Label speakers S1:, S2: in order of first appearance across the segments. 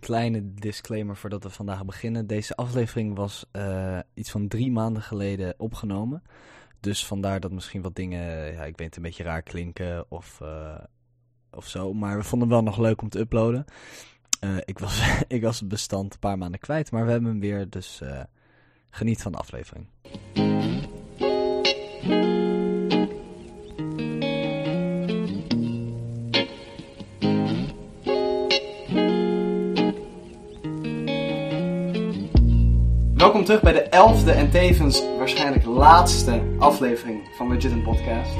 S1: kleine disclaimer voordat we vandaag beginnen. Deze aflevering was eh, iets van drie maanden geleden opgenomen. Dus vandaar dat misschien wat dingen, ja, ik weet het, een beetje raar klinken of, eh, of zo. Maar we vonden hem wel nog leuk om te uploaden. Eh, ik, was, ik was het bestand een paar maanden kwijt, maar we hebben hem weer. Dus eh, geniet van de aflevering.
S2: Welkom terug bij de elfde en tevens waarschijnlijk laatste aflevering van Legit een Podcast.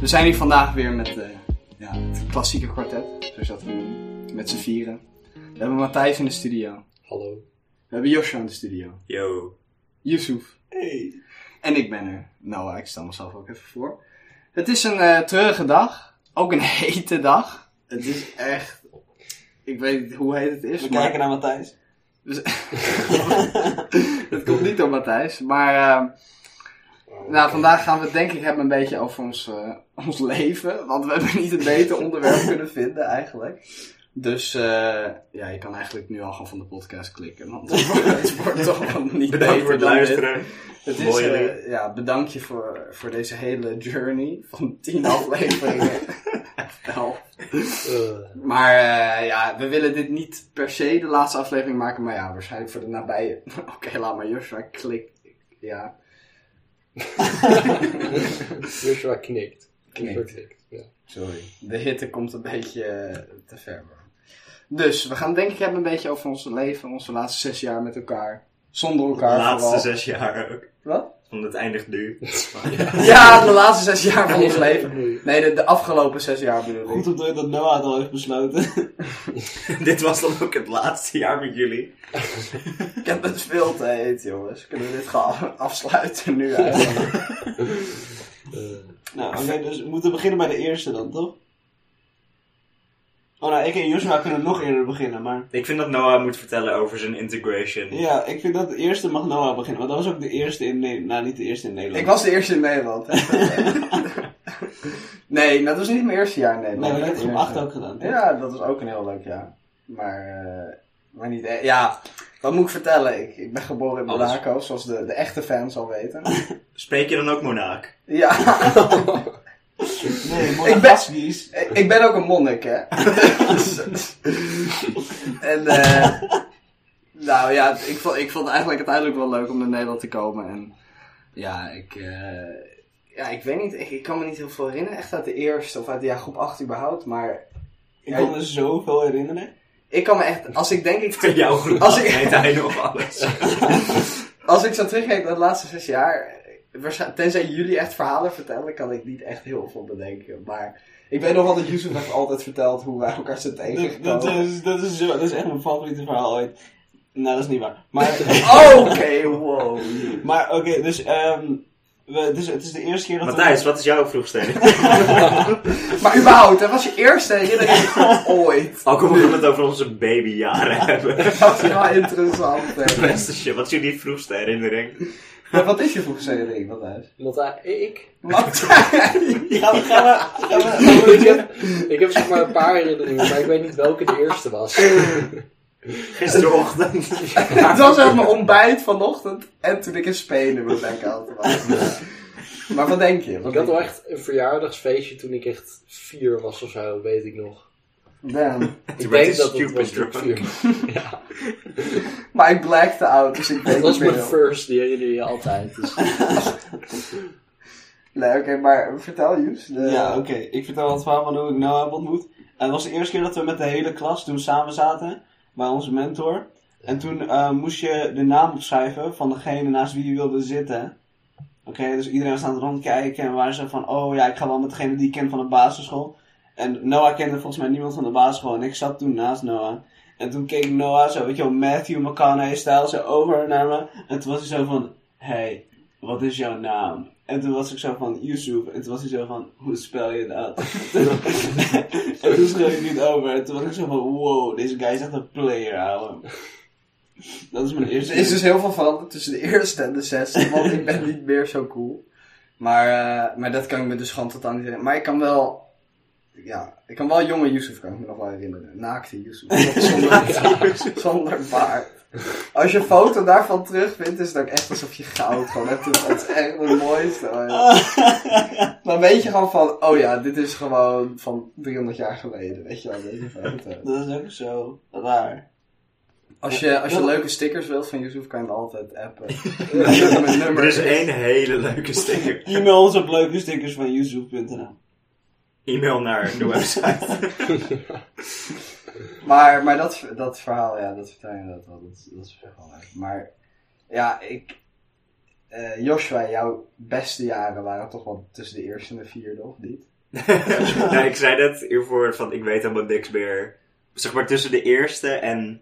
S2: We zijn hier vandaag weer met eh, ja, het klassieke kwartet, zoals je dat wil noemen. Met z'n vieren. We hebben Matthijs in de studio.
S3: Hallo.
S2: We hebben Joshua in de studio.
S3: Yo.
S2: Yusuf.
S3: Hey.
S2: En ik ben er. Nou, ik stel mezelf ook even voor. Het is een eh, treurige dag. Ook een hete dag. Het is echt... Ik weet niet hoe heet het is,
S3: We
S2: maar...
S3: kijken naar Matthijs.
S2: Dus- het komt niet door Matthijs, maar... ehm,
S4: Oh,
S2: Nou, vandaag gaan we het denk ik hebben een beetje over ons, eh, ons leven. Want we hebben niet een beter onderwerp kunnen vinden eigenlijk. Dus eh, ja, je kan eigenlijk nu al gewoon van de podcast klikken. Want het wordt toch wel niet
S4: Bedankt
S2: beter
S4: voor het
S2: dan dit.
S4: luisteren.
S2: Het is,
S4: Mooie
S2: eh,
S4: dingen.
S2: ja, bedank je voor, voor deze hele journey van tien afleveringen. Elf. Maar eh, ja, we willen dit niet per se de laatste aflevering maken, maar ja, waarschijnlijk voor de nabije. Oké, laat maar Joshua klik. Ja.
S3: Joshua knikt.
S2: Knikt.
S3: Joshua knikt. Ja.
S2: Sorry. De hitte komt een beetje eh, te ver. man. Dus we gaan denk ik hebben een beetje over ons leven, onze laatste zes jaar met elkaar. Zonder
S4: De
S2: elkaar
S4: laatste
S2: vooral.
S4: zes jaar ook.
S2: Wat?
S4: Want het eindigt nu.
S2: Ja, de laatste zes jaar van ons leven.
S3: Moeilijk.
S2: Nee, de, de afgelopen zes jaar bedoel ik.
S5: Goed om te weten dat Noah het al heeft besloten.
S4: Dit was dan ook het laatste jaar met jullie.
S2: Ik heb het veel te heet, jongens. Kunnen we dit gaan afsluiten nu eigenlijk?
S3: Eh,
S5: nou, oké, dus we moeten beginnen bij de eerste dan, toch? Oh, nou, ik en Joshua kunnen nog eerder beginnen, maar...
S4: Ik vind dat Noah moet vertellen over zijn integration.
S5: Ja, ik vind dat de eerste mag Noah beginnen, want dat was ook de eerste in Nederland. Nou, niet de eerste in Nederland.
S2: Ik was de eerste in Nederland. nee, dat was niet mijn eerste jaar in
S5: Nee,
S2: Nederland.
S5: maar dat heb
S2: Mijn
S5: ik op
S2: eerste.
S5: 8 ook gedaan. toch?
S2: Ja, dat was ook een heel leuk jaar. Maar, eh, maar niet e- Ja, wat moet ik vertellen? Ik, ik ben geboren in
S5: Alles.
S2: Monaco, zoals de, de echte fans al weten.
S4: Spreek je dan ook Monaak?
S2: ja,
S5: Nee,
S2: Ik
S5: mooie
S2: ben-
S5: Gaskies.
S2: ik- ik ben ook een monnik, hè. en, eh nou ja, ik vond, ik vond eigenlijk uiteindelijk wel leuk om naar Nederland te komen. En ja, ik... eh, ja, ik weet niet. Ik, ik kan me niet heel veel herinneren. Echt uit de eerste of uit de ja, groep 8 überhaupt. Maar
S5: Ik kan me zoveel herinneren.
S2: ik kan me echt... Als ik denk ik
S4: Van jouw groep
S2: Als ik-
S4: heet hij nog alles.
S2: Als ik zo terugkijk naar de laatste zes jaar, eh, waarsch- tenzij jullie echt verhalen vertellen, kan ik niet echt heel veel bedenken. Maar ik weet nog wel dat Yusuf heeft altijd verteld hoe wij elkaar zijn
S5: Dat, dat,
S2: tegengekomen.
S5: is, dat, is zo, dat is echt mijn favoriete verhaal ooit. Nou, dat is niet waar. Maar,
S2: Oh, Oké, wow.
S5: maar oké, dus, ehm we, het, is, het is de eerste keer dat we-
S4: Matthijs, wat is jouw vroegstelling?
S2: Maar überhaupt, dat was je eerste herinnering ooit.
S4: Ook omdat we het over onze babyjaren hebben.
S2: Dat is wel interessant. hè.
S4: Beste shit, wat is jullie vroegste herinnering?
S2: Maar wat is je vroegste herinnering van huis?
S3: Matthijs, Eh, ik?
S2: Wat?
S5: Gaan we, gaan we, gaan we, gaan we
S3: Ik heb, ik heb zeg maar een paar herinneringen, maar ik weet niet welke de eerste was.
S4: Gisterochtend.
S2: Het was echt mijn ontbijt vanochtend en toen ik in Spenen was, denk ik altijd. Maar wat denk je? Wat
S3: Ik had wel
S2: denk
S3: echt een verjaardagsfeestje toen ik echt vier was of zo, weet ik nog.
S2: je? Damn.
S3: Ik
S4: werd
S3: denk
S4: je
S3: dat het was toen
S4: stupid
S3: ik vier was.
S2: Maar ik blackte out, dus ik weet
S3: Dat
S2: niet
S3: was mijn
S2: meer.
S3: first, die herinner je altijd. Dus.
S2: Nee, oké, maar vertel Jus. de-
S5: Ja, oké. Ik vertel het verhaal van hoe ik Noah heb ontmoet. En het was de eerste keer dat we met de hele klas toen samen zaten. Bij onze mentor. En toen eh, moest je de naam opschrijven van degene naast wie je wilde zitten. Oké, dus iedereen was aan het rondkijken. En we waren zo van, oh ja, ik ga wel met degene die ik ken van de basisschool. En Noah kende volgens mij niemand van de basisschool. En ik zat toen naast Noah. En toen keek Noah zo, weet je wel, Matthew McConaughey-stijl zo over naar me. En toen was hij zo van, hey, wat is jouw naam? En toen was ik zo van Yusuf. En toen was hij zo van, hoe spel je dat? en toen schreef ik niet over. En toen was ik zo van, wow, deze guy is echt een player, ouwe. Dat is mijn eerste.
S2: Er is dus heel veel veranderd tussen de eerste en de zesde, want ik ben niet meer zo cool. Maar, eh, maar dat kan ik me dus gewoon totaal niet herinneren. Maar ik kan wel Ja, ik kan wel jonge Yusuf, kan ik me nog wel herinneren. Naakte Yusuf. Zonder, zonder baard. Als je een foto daarvan terugvindt, is het ook echt alsof je goud gewoon hebt. Het is echt het mooiste. hoor. Dan weet je gewoon van, oh ja, dit is gewoon van 300 jaar geleden. Weet je wel, deze foto.
S5: Dat is ook zo raar.
S2: Als je, als je leuke stickers wilt van Yusuf, kan je hem altijd appen. Met
S4: Er is
S2: nummers.
S4: één hele leuke sticker.
S5: E-mail ons op leuke stickers van youtube.nl.
S4: E-mail naar de website.
S2: Maar, maar dat, dat verhaal, ja, dat vertel je inderdaad wel. Dat, is- dat is wel leuk. Maar ja, ik. eh, Joshua, jouw beste jaren waren toch wel tussen de eerste en de vierde, of niet?
S4: nou, ik zei net hiervoor van ik weet helemaal niks meer. Zeg maar tussen de eerste en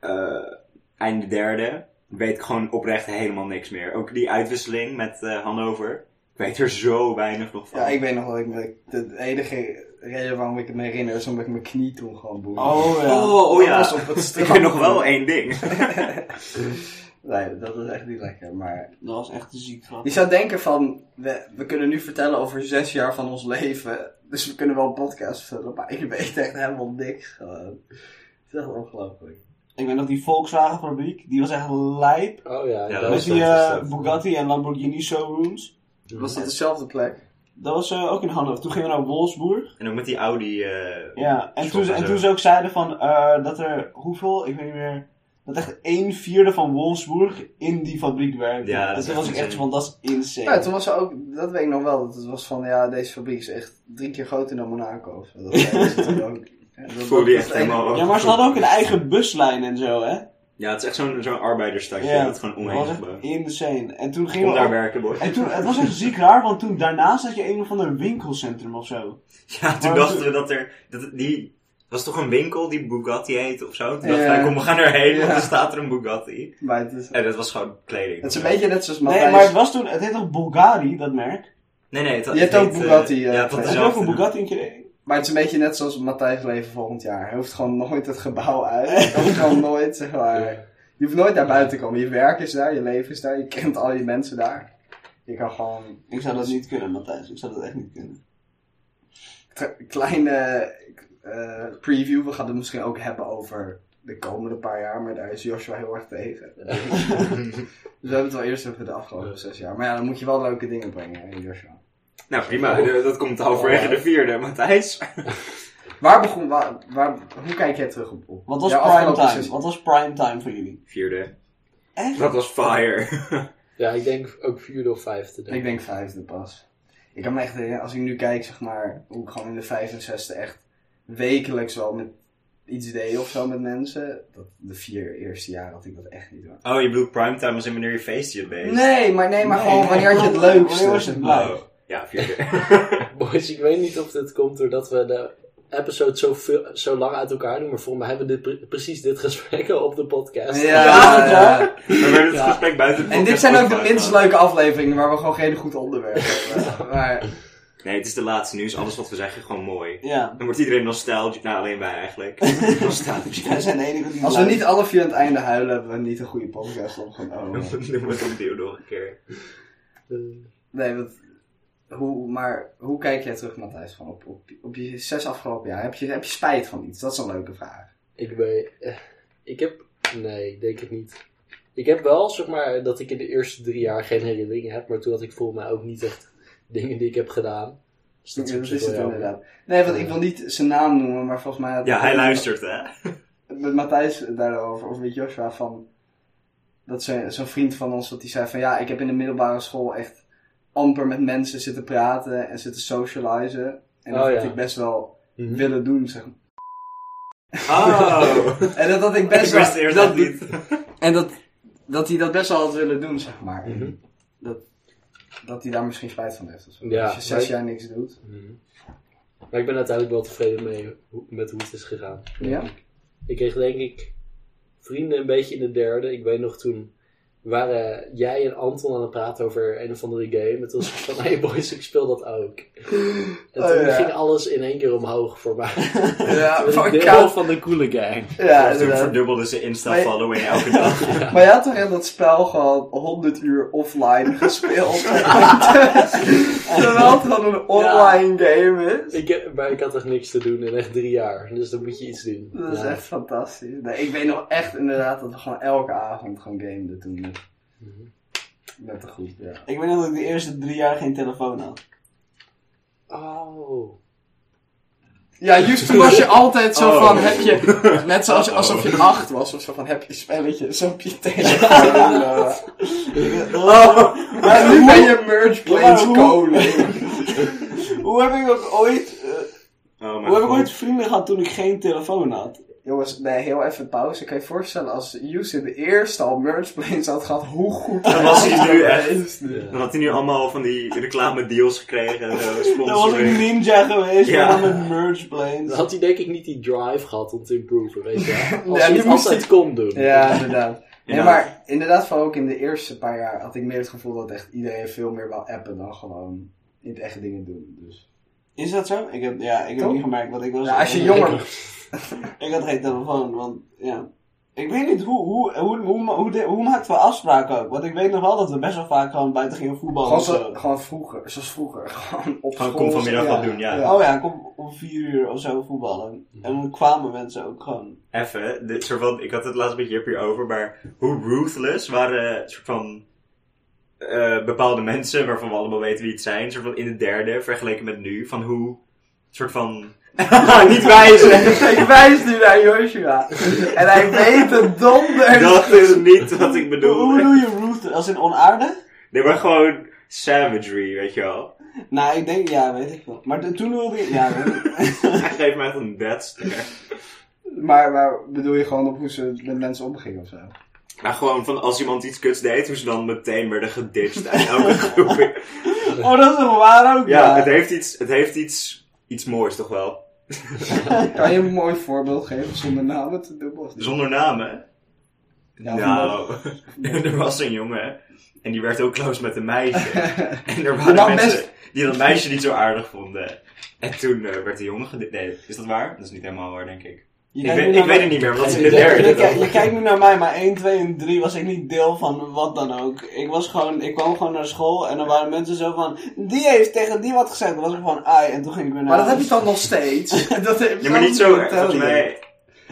S4: eh einde derde weet ik gewoon oprecht helemaal niks meer. Ook die uitwisseling met eh, Hannover. Ik weet er zo weinig nog van.
S2: Ja, ik weet nog wel. Ik, me- de enige reden waarom ik het me herinner is omdat ik mijn knie toen gewoon boeide.
S5: Oh ja.
S4: Oh, oh ja.
S2: Dat was op het
S4: Ik
S2: strand.
S4: weet nog wel één ding.
S2: Nee, dat is echt niet lekker. Maar
S5: Dat was echt een ziek grap.
S2: je zou denken van, we, we kunnen nu vertellen over zes jaar van ons leven. Dus we kunnen wel een podcast vullen, maar ik weet echt helemaal niks gewoon. Het is echt ongelooflijk.
S5: Ik weet nog die Volkswagen fabriek, die was echt lijp.
S3: Oh ja,
S4: Ja, dat
S3: ja
S5: Met
S4: was
S3: was
S5: die
S4: vet,
S5: eh,
S4: dat is vet.
S5: Bugatti en Lamborghini showrooms.
S2: Was dat dezelfde plek?
S5: Dat was eh, ook in Hannover. Toen gingen we naar Wolfsburg.
S4: En ook met die Audi. eh,
S5: Ja, en
S4: shop
S5: toen, ze- en toen ze ook zeiden van eh, dat er hoeveel, ik weet niet meer, dat echt een vierde van Wolfsburg in die fabriek werkte.
S4: Ja, dat
S5: en
S4: is
S5: toen
S4: echt
S5: was ik echt
S4: insane.
S5: van, dat is insane.
S2: Ja, toen was er ook, dat weet ik nog wel, dat het was van, ja, deze fabriek is echt drie keer groter dan Monaco. Of zo. Dat zeiden ze toen ook. Ja, dat-
S4: Voelde je echt
S2: dat- dat-
S4: helemaal.
S5: Ja, maar ze hadden ook een eigen buslijn en zo, hè?
S4: Ja, het is echt zo'n zo'n arbeidersstadje.
S5: Ja.
S4: Dat het gewoon
S5: Dat
S4: omheen
S5: was echt
S4: gebouwd.
S5: insane. En toen gingen
S4: Kom
S5: we...
S4: daar
S5: ook-
S4: werken, boy.
S5: En toen, het was echt ziek raar, want toen daarnaast had je een of ander winkelcentrum of zo.
S4: Ja, toen
S5: Maar-
S4: dachten we dat er. Dat, het- die was toch een winkel die Bugatti heette of zo? Toen dachten
S2: Ja.
S4: wij, kom, we gaan erheen, want
S2: Ja.
S4: er staat er een Bugatti.
S2: Maar het is,
S4: En dat was gewoon kleding.
S2: het is een beetje net zoals Matthijs.
S5: Nee, maar het was toen... Het heet toch Bulgari, dat merk?
S4: Nee, nee, het,
S2: Je hebt
S4: het
S2: ook
S4: heet, eh,
S2: Bugatti, eh,
S4: ja, het had
S5: Had je ook
S4: dezelfde
S5: een
S4: naam.
S5: Bugatti in je
S2: Maar het is een beetje net zoals Matthijs leven volgend jaar. Hij hoeft gewoon nooit het gebouw uit. Hij hoeft gewoon nooit, zeg maar. Je hoeft nooit naar buiten te komen. Je werk is daar, je leven is daar, je kent al je mensen daar. Je kan gewoon
S5: Ik zou dat niet kunnen, Matthijs. Ik zou dat echt niet kunnen.
S2: tra- kleine eh, preview. We gaan het misschien ook hebben over de komende paar jaar, maar daar is Joshua heel erg tegen. Dus we hebben het wel eerst over de afgelopen zes jaar. Maar ja, dan moet je wel leuke dingen brengen, hè, Joshua.
S4: Nou, prima.
S2: Oh.
S4: eh, Dat komt halverwege de vierde, Matthijs.
S2: Waar begon, waar, waar, hoe kijk jij terug op? op
S5: Wat was
S2: jouw
S5: prime
S2: afgelopen
S5: time?
S2: zes-
S5: Wat was prime time voor jullie?
S4: Vierde.
S5: Echt?
S4: Dat was fire.
S3: ja, ik denk ook vierde of vijfde.
S2: Ik denk vijfde pas. Ik kan me echt, herinneren, als ik nu kijk, zeg maar, hoe ik gewoon in de vijfde en zesde echt wekelijks wel met iets deed of zo met mensen. Dat, de vier eerste jaren had ik dat echt niet hoor.
S4: Oh, je bedoelt primetime was in wanneer je feestje hebt bezig.
S2: Nee, maar nee, maar
S5: Nee,
S2: gewoon wanneer had je het
S5: wanneer
S2: leukste?
S5: was je het blij?
S4: Oh, ja, vierde.
S3: Boys, ik weet niet of dit komt doordat we de episode zo, veel- zo lang uit elkaar doen. Maar voor mij hebben we dit pre- precies dit gesprek al op de podcast.
S2: Ja,
S5: Ja,
S2: ja, ja.
S4: We werden het
S3: Ja.
S4: gesprek buiten de
S2: En dit
S4: podcast
S2: zijn ook de
S4: opgenomen.
S2: minst leuke afleveringen waar we gewoon geen goed onderwerp hebben. Maar,
S4: Nee, het is de laatste. Nu is alles wat we zeggen gewoon mooi.
S5: Ja.
S4: Dan wordt iedereen nostalgisch. Nou, alleen wij eigenlijk.
S5: Wij
S4: nostalgisch.
S5: zijn de enige die...
S2: als we
S5: luisteren.
S2: niet alle vier aan het einde huilen, hebben we niet een goede podcast opgenomen.
S4: Noem het opnieuw nog een keer.
S3: Eh,
S2: Nee, want hoe, maar hoe kijk jij terug, Matthijs, van op, op, op je zes afgelopen jaar? Heb je, heb je spijt van iets? Dat is een leuke vraag.
S3: ik ben... eh, Ik heb... Nee, ik denk het niet. Ik heb wel, zeg maar, dat ik in de eerste drie jaar geen herinneringen heb. Maar toen had ik volgens mij ook niet echt dingen die ik heb gedaan. Dus dat
S2: Dat
S3: is,
S2: is,
S3: op zich
S2: het
S3: wel jammer.
S2: inderdaad. Nee, want ik wil niet zijn naam noemen, maar volgens mij... had
S4: Ja,
S2: ik
S4: hij
S2: met-
S4: luistert, hè?
S5: Oh.
S2: Met Matthijs daarover, of met Joshua, van... Dat ze- zo'n vriend van ons, dat die zei van... Ja, ik heb in de middelbare school echt amper met mensen zitten praten en zitten socializen. En dat
S3: Oh,
S2: had
S3: ja.
S2: ik best wel
S3: Mhm.
S2: willen doen, zeg maar.
S4: Oh!
S2: En dat had ik
S4: Best
S2: best
S4: ik wist
S2: wel...
S4: eerst
S2: dat-
S4: dat niet.
S2: En dat, dat hij dat best wel had willen doen, zeg maar.
S3: Mhm.
S2: dat hij daar misschien spijt van heeft. Of zo.
S3: Ja,
S2: Als je zes
S3: maar ik-
S2: jaar niks doet.
S3: Mhm. Maar ik ben uiteindelijk wel tevreden mee hoe- met hoe het is gegaan.
S2: Ja?
S3: Ik kreeg denk ik vrienden een beetje in de derde. Ik weet nog toen waren jij en Anton aan het praten over een of andere game. Het was van, hey boys, ik speel dat ook. En
S2: Oh,
S3: toen
S2: ja.
S3: ging alles in één keer omhoog voor mij.
S2: Ja,
S3: Toen was
S2: van
S3: ik deel
S2: koud.
S3: van de coole gang.
S2: Ja,
S4: Toen
S2: inderdaad.
S4: verdubbelde ze
S2: Maar-
S4: Insta-following elke dag.
S2: Maar je had toch in dat spel gewoon 100 uur offline gespeeld? Terwijl het gewoon een online game is.
S3: Ik, heb- maar ik had echt niks te doen in echt drie jaar. Dus dan moet je iets doen.
S2: Dat is
S3: Ja.
S2: echt fantastisch. Nee, ik weet nog echt inderdaad dat we gewoon elke avond gewoon gameden toen. dus.
S3: Mhm.
S2: Met de groep, ja.
S5: Ik weet nog dat ik de eerste drie jaar geen telefoon had.
S3: Oh.
S2: Ja, juist toen was je altijd zo
S4: Oh.
S2: van, heb je... Net zoals je,
S4: Uh-oh.
S2: alsof je acht was, of zo van, heb je spelletjes op je telefoon. eh. Maar nu
S4: Oh.
S2: ben je merge planes
S5: Ja, hoe-
S2: kolen.
S5: Hoe heb ik ook ooit, eh,
S4: Oh mijn
S5: hoe heb ik
S4: god.
S5: ooit vrienden gehad toen ik geen telefoon had?
S2: Jongens, nee, heel even pauze. Ik kan je voorstellen als Yusuf de eerste al merge planes had gehad, hoe goed
S4: Dan was hij nu echt.
S2: is nu.
S4: Dan had hij nu allemaal van die reclame deals gekregen en zo, sponsoring.
S5: Dan was ik ninja geweest,
S4: Ja.
S5: maar dan met merge planes.
S3: Dan had hij denk ik niet die drive gehad om te improven, weet je wel. Als
S2: Ja,
S3: hij
S2: nu
S3: het
S2: moest
S3: altijd kon doen.
S2: Ja, inderdaad. Nee,
S4: Ja.
S2: maar inderdaad, vooral ook in de eerste paar jaar had ik meer het gevoel dat echt iedereen veel meer wou appen dan gewoon in het echt dingen doen. Dus.
S5: Is dat zo? Ik heb, ja, ik heb
S2: Toch?
S5: niet gemerkt, want ik was...
S2: Ja, als je
S5: ik-
S2: jonger
S5: Ik had geen telefoon, want ja. Ik weet niet hoe, hoe, hoe, hoe, ma- hoe, de- hoe maakten we afspraken ook? Want ik weet nog wel dat we best wel vaak gewoon buiten gingen voetballen.
S2: Gewoon,
S5: of
S2: zo,
S5: zo.
S2: gewoon vroeger, zoals vroeger. Gewoon op
S4: Gewoon
S2: school.
S4: kom vanmiddag wat doen, ja. Mhm.
S5: Oh ja, kom om vier uur of zo voetballen. En dan kwamen mensen ook gewoon.
S4: Even, dit soort van, ik had het laatst met Jip hier over, maar hoe ruthless waren soort van eh, bepaalde mensen, waarvan we allemaal weten wie het zijn, soort van in de derde, vergeleken met nu, van hoe, soort van... niet wijzen!
S2: Ik wijs nu naar Joshua. En hij weet het donder.
S4: Dat is niet wat ik
S5: Hoe bedoel
S4: bedoel.
S5: je route? Als in onaarde?
S4: Dit was gewoon savagery, weet je wel.
S5: Nou, ik denk, ja, weet ik wel. Maar de- toen wilde ik, ja, weet ik.
S4: Hij geeft mij echt een dead stare.
S2: Maar, maar bedoel je gewoon op hoe ze met mensen omgingen of zo?
S4: Maar gewoon van als iemand iets kuts deed, hoe ze dan meteen werden geditcht uit elke groep. Ja,
S5: Oh, dat is toch waar ook?
S4: het heeft, iets, het heeft iets, iets moois toch wel.
S2: Kan je een mooi voorbeeld geven zonder namen te dubbel? of niet?
S4: Zonder namen.
S2: Ja,
S4: nou, er was een jongen en die werd ook close met een meisje. En er
S2: Maar
S4: waren
S2: nou
S4: mensen
S2: best-
S4: die dat meisje niet zo aardig vonden. En toen eh, werd de jongen geditcht. Nee, is dat waar? Dat is niet helemaal waar, denk ik.
S5: Je
S4: Ik
S5: kijkt
S4: weet,
S5: nu
S4: ik
S5: naar
S4: weet het
S5: mij-
S4: niet meer, want dat is in
S5: Je
S4: de
S5: kijkt-
S4: derde.
S5: je kijkt- Je
S4: dan.
S5: kijkt nu naar mij, maar 1, 2 en 3 was ik niet deel van wat dan ook. Ik was gewoon, ik kwam gewoon naar school en dan waren mensen zo van, die heeft tegen die wat gezegd. Dan was ik van, ai, en toen ging ik weer naar
S2: Maar dat heb je
S5: huis.
S2: dan nog steeds. Dat heb
S4: Ja, maar niet zo.
S2: dat
S4: Volgens
S2: vertel je.
S4: mij,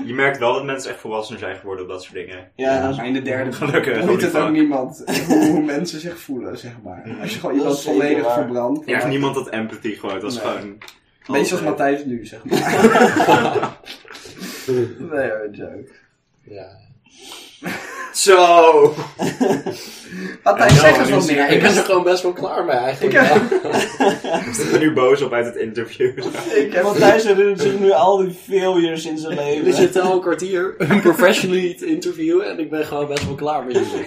S4: je merkt wel dat mensen echt volwassener zijn geworden op dat soort dingen.
S5: Ja, dat is
S2: Maar in de derde
S4: Gelukkig,
S2: boeit het
S4: holy
S2: ook
S4: fuck.
S2: niemand hoe, hoe mensen zich voelen, zeg maar. Als je gewoon
S5: Dat
S2: iemand
S5: is zeker
S2: volledig
S5: waar.
S2: verbrandt.
S4: Mm. Ja, echt
S2: dan-
S4: niemand had empathy gewoon. Het was
S2: Nee.
S4: gewoon.
S2: Beetje als
S4: altijd-
S2: Matthijs nu, zeg maar. nee hoor, joke.
S3: Ja.
S4: Zo!
S2: Matthijs,
S4: Ja,
S2: zeg
S4: nou,
S2: eens wat
S4: nu-
S2: meer.
S3: Ik was er gewoon best wel klaar mee eigenlijk.
S2: Ik-
S3: ja.
S4: Ik ben nu boos op uit het interview.
S2: Ik heb
S5: Matthijs herinnert zich nu al die failures in
S4: Dus
S5: zijn
S3: Jullie
S5: leven.
S3: zitten al een kwartier professionally te interviewen en ik ben gewoon best wel klaar met jullie.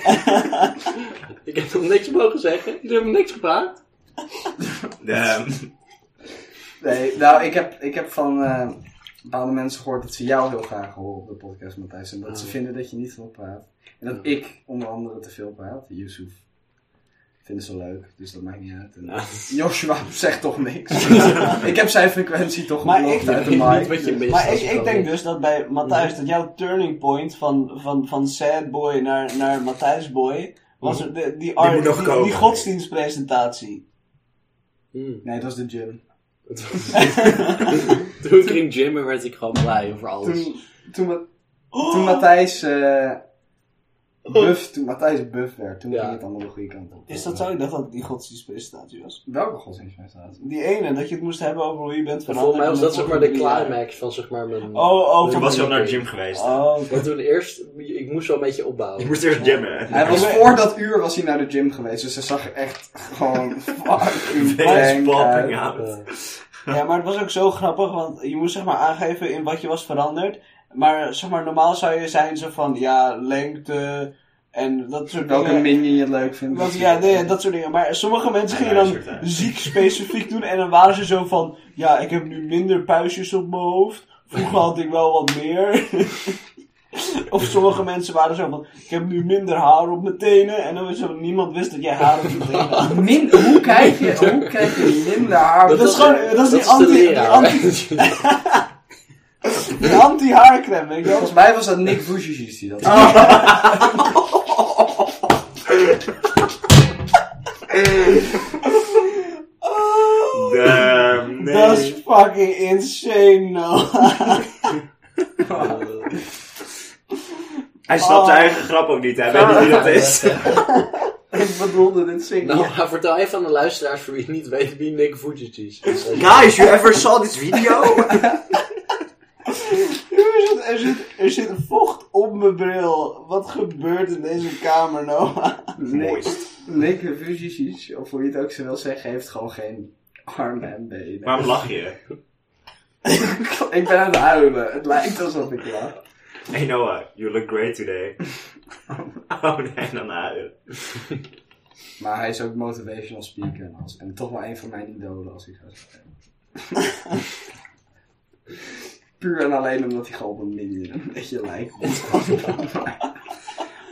S3: ik heb nog niks mogen zeggen, jullie hebben niks gepraat.
S4: Damn.
S2: Nee, nou, ik heb, ik heb van eh, bepaalde mensen gehoord dat ze jou heel graag horen op de podcast, Matthijs. En dat ze
S3: Oh.
S2: vinden dat je niet veel praat. En dat
S3: Ja.
S2: ik onder andere te veel praat. Yusuf vinden ze leuk, dus dat maakt niet uit. En Joshua zegt toch niks. ik heb zijn frequentie toch
S5: Maar
S2: geblokt
S5: ik-
S2: uit de
S3: ik weet
S2: mic.
S3: niet wat je
S2: dus-
S3: mist.
S5: Maar
S3: Dat Mhm.
S5: ik,
S3: is
S5: ik
S3: gewoon
S5: denk
S3: niet.
S5: dus dat bij Matthijs, dat jouw turning point van, van, van sad boy naar, naar Matthijs boy, was
S3: Mhm.
S5: er de- die, art,
S4: moet nog
S5: die,
S4: komen.
S5: die godsdienstpresentatie.
S3: Hmm.
S2: Nee, dat was de gym.
S3: Toen ik ging gymmen werd ik gewoon blij over alles.
S2: Toen, toen, Ma-
S5: Oh!
S2: toen Matthijs... eh buff, toen Matthijs buff werd, toen
S3: Ja.
S2: ging het allemaal de goede kant op.
S5: Is dat zo? Ik dacht dat het die godsdienstpresentatie was.
S2: Welke godsdienstpresentatie?
S5: Die ene, dat je het moest hebben over hoe je bent veranderd.
S3: Volgens mij was
S5: in
S3: dat zeg maar de
S5: vorige drie
S3: climax van zeg maar mijn...
S5: jaar. Oh, oh,
S4: Toen
S5: van-
S4: was je al naar de gym geweest.
S5: Oh, oké.
S3: Want toen eerst, ik moest wel een beetje
S4: Je
S3: opbouwen. Eh,
S4: moest eerst gymmen.
S2: Hij was
S5: maar-
S2: voor dat uur was hij naar de gym geweest, dus hij zag er echt gewoon fucking
S4: Veins
S2: blank uit.
S4: popping out.
S3: Eh,
S5: Ja, maar het was ook zo grappig, want je moest zeg maar aangeven in wat je was veranderd. Maar zeg maar, normaal zou je zijn zo van, ja, lengte en dat soort
S2: Welke
S5: dingen.
S2: minion je het leuk vindt.
S5: Want, ja, nee, dat soort dingen. Maar sommige mensen gingen dan
S4: Luistert, hè.
S5: ziek specifiek doen en dan waren ze zo van, ja, ik heb nu minder puistjes op mijn hoofd. Vroeger had ik wel wat meer. Of sommige mensen waren zo van, ik heb nu minder haar op mijn tenen. En dan was zo, niemand wist dat jij haar op je tenen had.
S2: Min, hoe krijg je, hoe krijg je minder haar?
S5: Dat is
S2: gewoon-
S5: gewoon- dat is die anti- die Een anti-haarcreme, weet je wel.
S2: Volgens mij was dat Nick Vujicic die dat
S5: Ah.
S2: zei.
S4: Damn, Ehm, nee.
S5: Oh, Dat is fucking insane, nou. no.
S4: Hij
S2: Ah.
S4: snapt
S5: Oh.
S4: zijn eigen grap ook niet, hè? Weet niet wie dat is.
S2: Ik bedoelde dit zingen.
S3: nou, maar vertel even aan de luisteraars voor wie het niet weet wie Nick Vujicic is.
S4: Guys, you ever saw this video?
S5: Er zit, er, zit, er zit vocht op mijn bril. Wat gebeurt in deze kamer, nou? Noah?
S4: Mooist.
S2: Nick Vujicic, of hoe je het ook zo wil zeggen, heeft gewoon geen armen en benen.
S4: Waarom lach je?
S2: Ik ben aan het huilen. Het lijkt alsof ik lach.
S4: Hey Noah, you look great today. Oh nee, dan huilen.
S2: Maar hij is ook motivational speaker en alles. En toch wel een van mijn idolen als ik zo zeg. Puur en alleen omdat hij gewoon op een minion een beetje lijkt.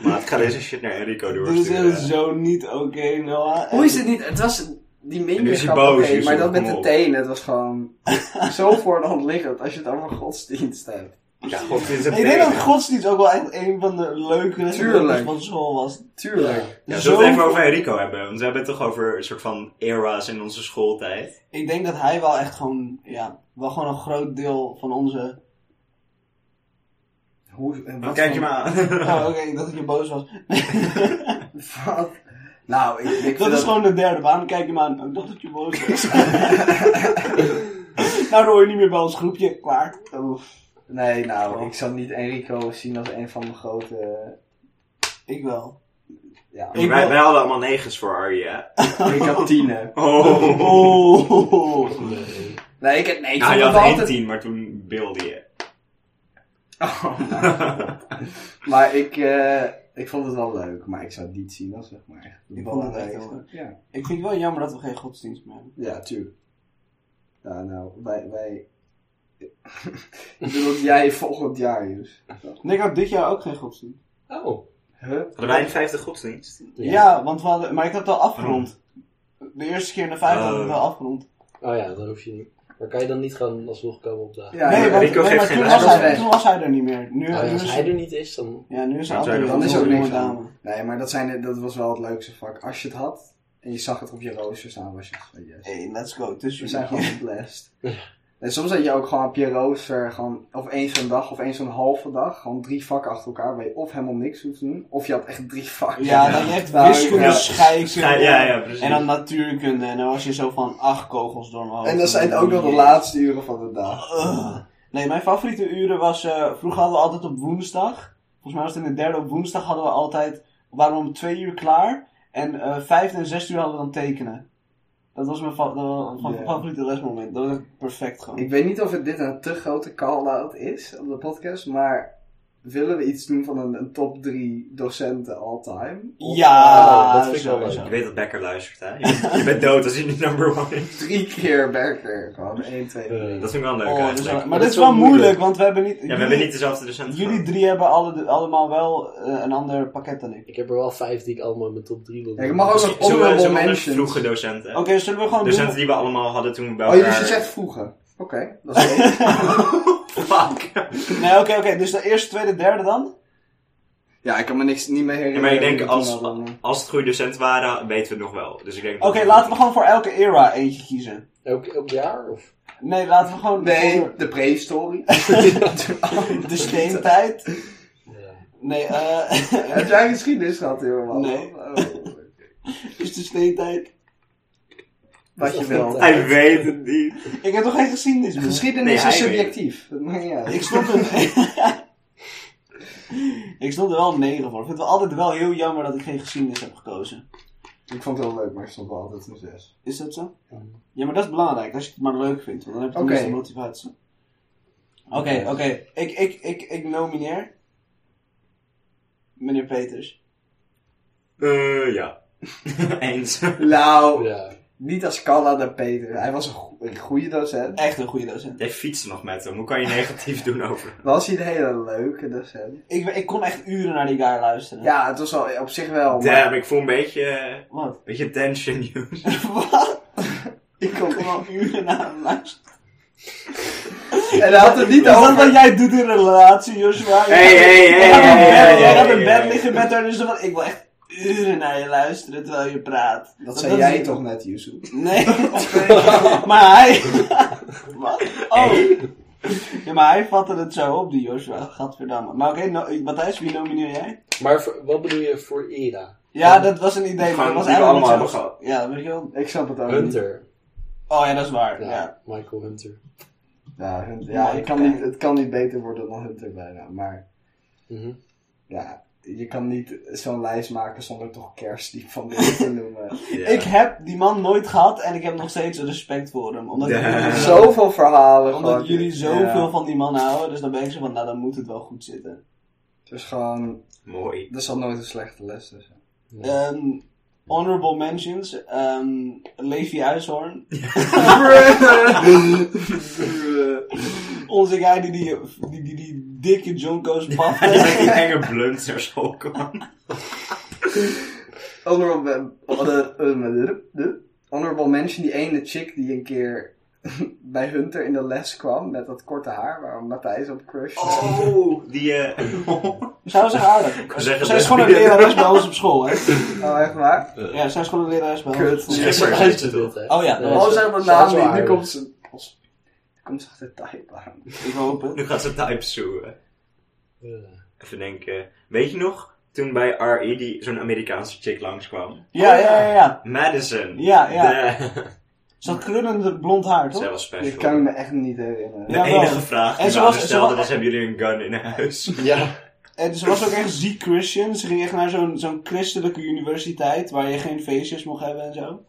S4: Maar ik ga deze shit naar Enrico
S5: Dit is echt
S4: doorsturen.
S5: zo niet oké, Noah.
S2: Hoe is dit niet? Het was die
S4: En nu
S2: minion
S4: is hij
S2: grap,
S4: boos,
S2: oké,
S4: dus
S2: maar dat met
S4: kom
S2: de
S4: op.
S2: tenen, het was gewoon zo voor de hand liggend als je het over godsdienst hebt.
S4: Ja, god, dit is een
S5: Ik denk dat
S4: thema.
S5: godsdienst ook wel echt een van de leukere
S2: Tuurlijk.
S5: dingen van school was. Dus
S2: Tuurlijk.
S4: Ja,
S5: Zo-
S4: zullen we het even over Enrico hebben? Want we hebben het toch over een soort van era's in onze schooltijd.
S5: Ik denk dat hij wel echt gewoon, ja, wel gewoon een groot deel van onze...
S2: Hoe, en
S4: Wat
S2: wat
S4: kijk je
S2: voor-
S4: maar aan?
S5: Oh, oké, ik dacht dat je boos was.
S2: Wat? Nou, ik, ik vind
S5: Dat is gewoon de derde, waarom kijk je me aan? Oh, Ik dacht dat je boos was. nou, dan hoor je niet meer bij ons groepje. Klaar.
S2: Oef. Nee,
S4: Oh.
S2: nou, ik zal niet Enrico zien als een van mijn grote... eh,
S5: Ik wel.
S2: Ja,
S5: Ik
S4: wij,
S5: wil-
S4: wij hadden allemaal negens voor Arjen, hè?
S2: ik had tienen.
S4: Oh.
S5: Oh.
S3: Nee.
S2: Nee, ik, nee, ik
S4: Nou,
S2: vond
S4: je
S2: het
S4: had één
S2: altijd...
S4: tien, maar toen beelde je.
S2: Oh, maar ik, eh, ik vond het wel leuk, maar ik zou het niet zien als zeg maar echt de
S5: Ik vond het echt
S2: belangrijkste.
S5: heel leuk.
S2: Ja,
S5: Ik vind het wel jammer dat we geen godsdienst meer hebben.
S2: ja, tuurlijk. Ja, nou, wij... wij... ik bedoel dat jij volgend jaar, dus.
S5: Nee, ik had dit jaar ook geen godsdienst.
S3: Oh.
S2: Huh?
S4: Hadden wij een vijfde godsdienst?
S5: Ja, want we hadden, maar ik had het al afgerond. De eerste keer in de vijfde had ik het al afgerond.
S3: Oh ja, dan hoef je niet. Maar kan je dan niet gaan alsnog komen opdagen?
S2: Ja,
S5: nee,
S2: ja,
S5: want,
S4: Rico
S5: nee,
S4: geeft
S5: maar
S4: geen
S5: toen was,
S2: les.
S5: hij, toen was hij er niet meer. Nu,
S3: Nou,
S5: nu
S3: ja, als
S5: is
S3: hij er niet is, dan...
S5: Ja, nu is hij
S4: Dan zijn
S5: altijd
S4: er-
S2: Dan is er ook niks
S5: dame.
S2: aan. Nee, maar dat, zijn, de- dat was wel het leukste vak. Als je het had en je zag het op je rooster staan, was je van yes.
S5: Hey, let's go.
S2: We
S5: Tussen
S2: zijn gewoon geblest. En soms had je ook gewoon op je rooster, gewoon, of eens een dag of eens een halve dag, gewoon drie vakken achter elkaar waar je of helemaal niks hoeft te doen, of je had echt drie vakken.
S5: Ja, dan echt
S2: Nou,
S5: wiskunde,
S4: ja. Ja,
S5: scheikunde.
S4: ja, ja, precies.
S5: En dan natuurkunde. En dan was je zo van acht kogels door mijn hoofd.
S2: En dat zijn ook nog de laatste uren van de dag.
S5: Ugh. Eh, Nee, mijn favoriete uren was... eh, vroeger hadden we altijd op woensdag. Volgens mij was het in de derde op woensdag hadden we altijd... Waren we om twee uur klaar. En eh, vijfde en zesde uur hadden we dan tekenen. Dat was mijn, fa- dat was mijn
S2: Ja.
S5: favoriete lesmoment. Dat was echt perfect gewoon.
S2: Ik weet niet of het dit een te grote call-out is op de podcast, maar willen we iets doen van een, een top drie docenten all time? Of,
S5: ja,
S3: Oh, dat vind ik wel
S5: sowieso.
S4: Je weet dat Becker luistert, hè? Je, je bent dood als je niet number one is.
S2: eh, drie keer Berker, gewoon één, twee, drie.
S3: eh,
S4: Dat vind ik wel leuk
S5: Oh, dat is wel-
S4: eigenlijk.
S5: maar dit is wel moeilijk, want we hebben niet...
S4: Ja, we hebben niet dezelfde docent.
S5: Jullie drie hebben alle, allemaal wel eh, een ander pakket dan ik.
S3: Ik heb er wel vijf die ik allemaal in mijn top 3 wil
S2: Ja, je mag ook nog
S4: Zullen we-
S2: honorable
S4: zullen we andere
S2: mentions.
S4: vroege docenten.
S5: Oké, zullen we gewoon doen...
S4: Docenten die we allemaal hadden toen we bij
S2: Oh,
S4: elkaar...
S2: jullie zegt vroeger. Oké, dat is leuk.
S4: Fuck.
S5: Nee, oké, oké. Dus de eerste, tweede, derde dan?
S2: Ja, ik kan me niks niet meer
S4: Ja,
S2: herinneren.
S4: maar ik denk
S2: Toen
S4: als,
S2: hadden we-
S4: als het goede docenten waren, weten we het nog wel. Dus ik denk...
S5: Oké, laten we gewoon voor elke era eentje kiezen.
S3: Elk, elk jaar? Of?
S5: Nee, laten we gewoon...
S2: Nee,
S5: voor
S2: de prehistorie.
S5: De steentijd.
S3: Ja.
S5: Nee, eh...
S2: Heb jij geschiedenis gehad, helemaal?
S5: Nee.
S2: Oh,
S5: is dus de steentijd...
S2: wat je wil.
S4: Hij weet het niet.
S5: Ik heb toch geen geschiedenis meer?
S2: Geschiedenis
S4: Nee,
S2: is
S4: hij weet
S2: subjectief. Dat maakt niet uit.
S5: Ik stond er... ik stond er wel een negen voor. Ik vind het altijd wel heel jammer dat ik geen geschiedenis heb gekozen.
S2: Ik vond het wel leuk, maar ik stond wel altijd een zes.
S5: Is dat zo? Ja, maar dat is belangrijk. Als je het maar leuk vindt. Want dan heb je
S2: Oké.
S5: tenminste motivatie. Oké, oké. Ik, ik, ik, ik nomineer... Meneer Peters.
S4: Eh, ja. Eens.
S2: Nou,
S3: Oh Ja.
S2: Niet als Kalla naar Peter. Hij was een, go- een goede docent.
S5: Echt een goede docent.
S4: Jij fietst nog met hem. Hoe kan je negatief doen over hem?
S2: Was hij een hele leuke docent?
S5: Ik, ik kon echt uren naar die guy luisteren.
S2: Ja, het was al op zich wel.
S5: Oh,
S2: maar
S4: Damn, ik voel een beetje, een
S5: Wat?
S4: beetje tension, jongens.
S5: Wat?
S2: ik kon
S5: Ik kon al uren naar hem luisteren.
S2: En hij had het niet
S5: Is dat
S2: over.
S5: wat jij doet in een relatie, Joshua?
S4: Hey, hey, hey,
S5: Jij gaat
S4: hey,
S5: in
S4: hey,
S5: bed-
S4: hey,
S5: Jij gaat
S4: hey,
S5: in bed
S4: hey.
S5: liggen met haar, dus dan van, ik wil echt uren naar je luisteren terwijl je praat.
S2: Dat
S5: Want
S2: zei jij
S5: is-
S2: toch net, Yusuf?
S5: Nee. maar hij... Wat? Oh. Ja, maar hij vatte het zo op, die Joshua. Gadverdamme. Maar oké, no- Matthijs, wie nomineer jij?
S3: Maar voor- wat bedoel je voor Era?
S5: Ja, dat was een idee, maar
S4: Gewoon
S5: dat was
S4: die we
S5: eigenlijk
S4: allemaal
S5: niet zo.
S4: hebben gehad.
S5: Ja, dat weet ik wel.
S2: Ik snap het ook niet.
S3: Hunter.
S5: Oh ja, dat is waar.
S3: Ja,
S5: Ja.
S3: Michael Hunter.
S2: Ja, Hunter- ja het, kan niet, het kan niet beter worden dan Hunter bijna. Maar
S3: Mhm.
S2: ja, je kan niet zo'n lijst maken zonder toch kerstdiep van dit te noemen.
S4: Ja.
S5: Ik heb die man nooit gehad en ik heb nog steeds respect voor hem. Omdat,
S4: Ja.
S5: jullie, zo,
S2: Zoveel verhalen.
S5: omdat
S2: gewoon.
S5: jullie zoveel
S2: Ja.
S5: van die man houden. Dus dan ben ik zo van, nou dan moet het wel goed zitten.
S2: Dus gewoon,
S4: Mooi.
S2: er zal nooit een slechte les dus. tussen.
S3: Ja.
S5: Ehm, honorable mentions. ehm, Levi Huishoorn. Onze guy die die, die, die, die dikke jonko's
S4: Hij
S5: pafte.
S4: is die enge blunt naar school kwam.
S2: honorable, eh, honorable, honorable mention, die ene chick die een keer bij Hunter in de les kwam met dat korte haar waar Matthijs op crush.
S4: Oh, die... eh,
S5: Zou ze aardig.
S4: kan zeggen,
S5: Zij is gewoon een
S4: lesbian.
S5: lerares bij ons op school, hè?
S2: Oh, echt waar?
S5: Ja, zij is gewoon een lerares bij
S2: Kut.
S5: ons op school.
S4: Ja.
S3: Ze luistert dit, hè?
S5: Oh ja, dat
S3: Nee,
S5: was
S2: Oh,
S3: ze-
S2: zeg maar
S3: ze was wel
S2: naam niet. Nu
S3: aardig.
S2: komt ze... nu komt ze achter type aan.
S5: Ik hoop het.
S4: Nu gaat ze type zoeken.
S3: Ja.
S4: Even denken. Weet je nog, toen bij R.E. die zo'n Amerikaanse chick langskwam?
S5: Ja, ja, ja, ja.
S4: Madison.
S5: Ja, ja.
S4: De-
S5: Ze had krullend blond haar,
S4: Zij
S5: toch?
S4: was special.
S2: Dit kan ik me echt niet herinneren.
S4: De
S5: Ja, wel.
S4: enige vraag die
S5: En ze
S4: we
S5: was-
S4: aan haar
S5: ze
S4: stelden
S5: was-
S4: was, hebben jullie een gun in huis?
S3: Ja.
S5: En ze was ook echt ziek Christian. Ze ging echt naar zo'n zo'n christelijke universiteit waar je geen feestjes mocht hebben en zo.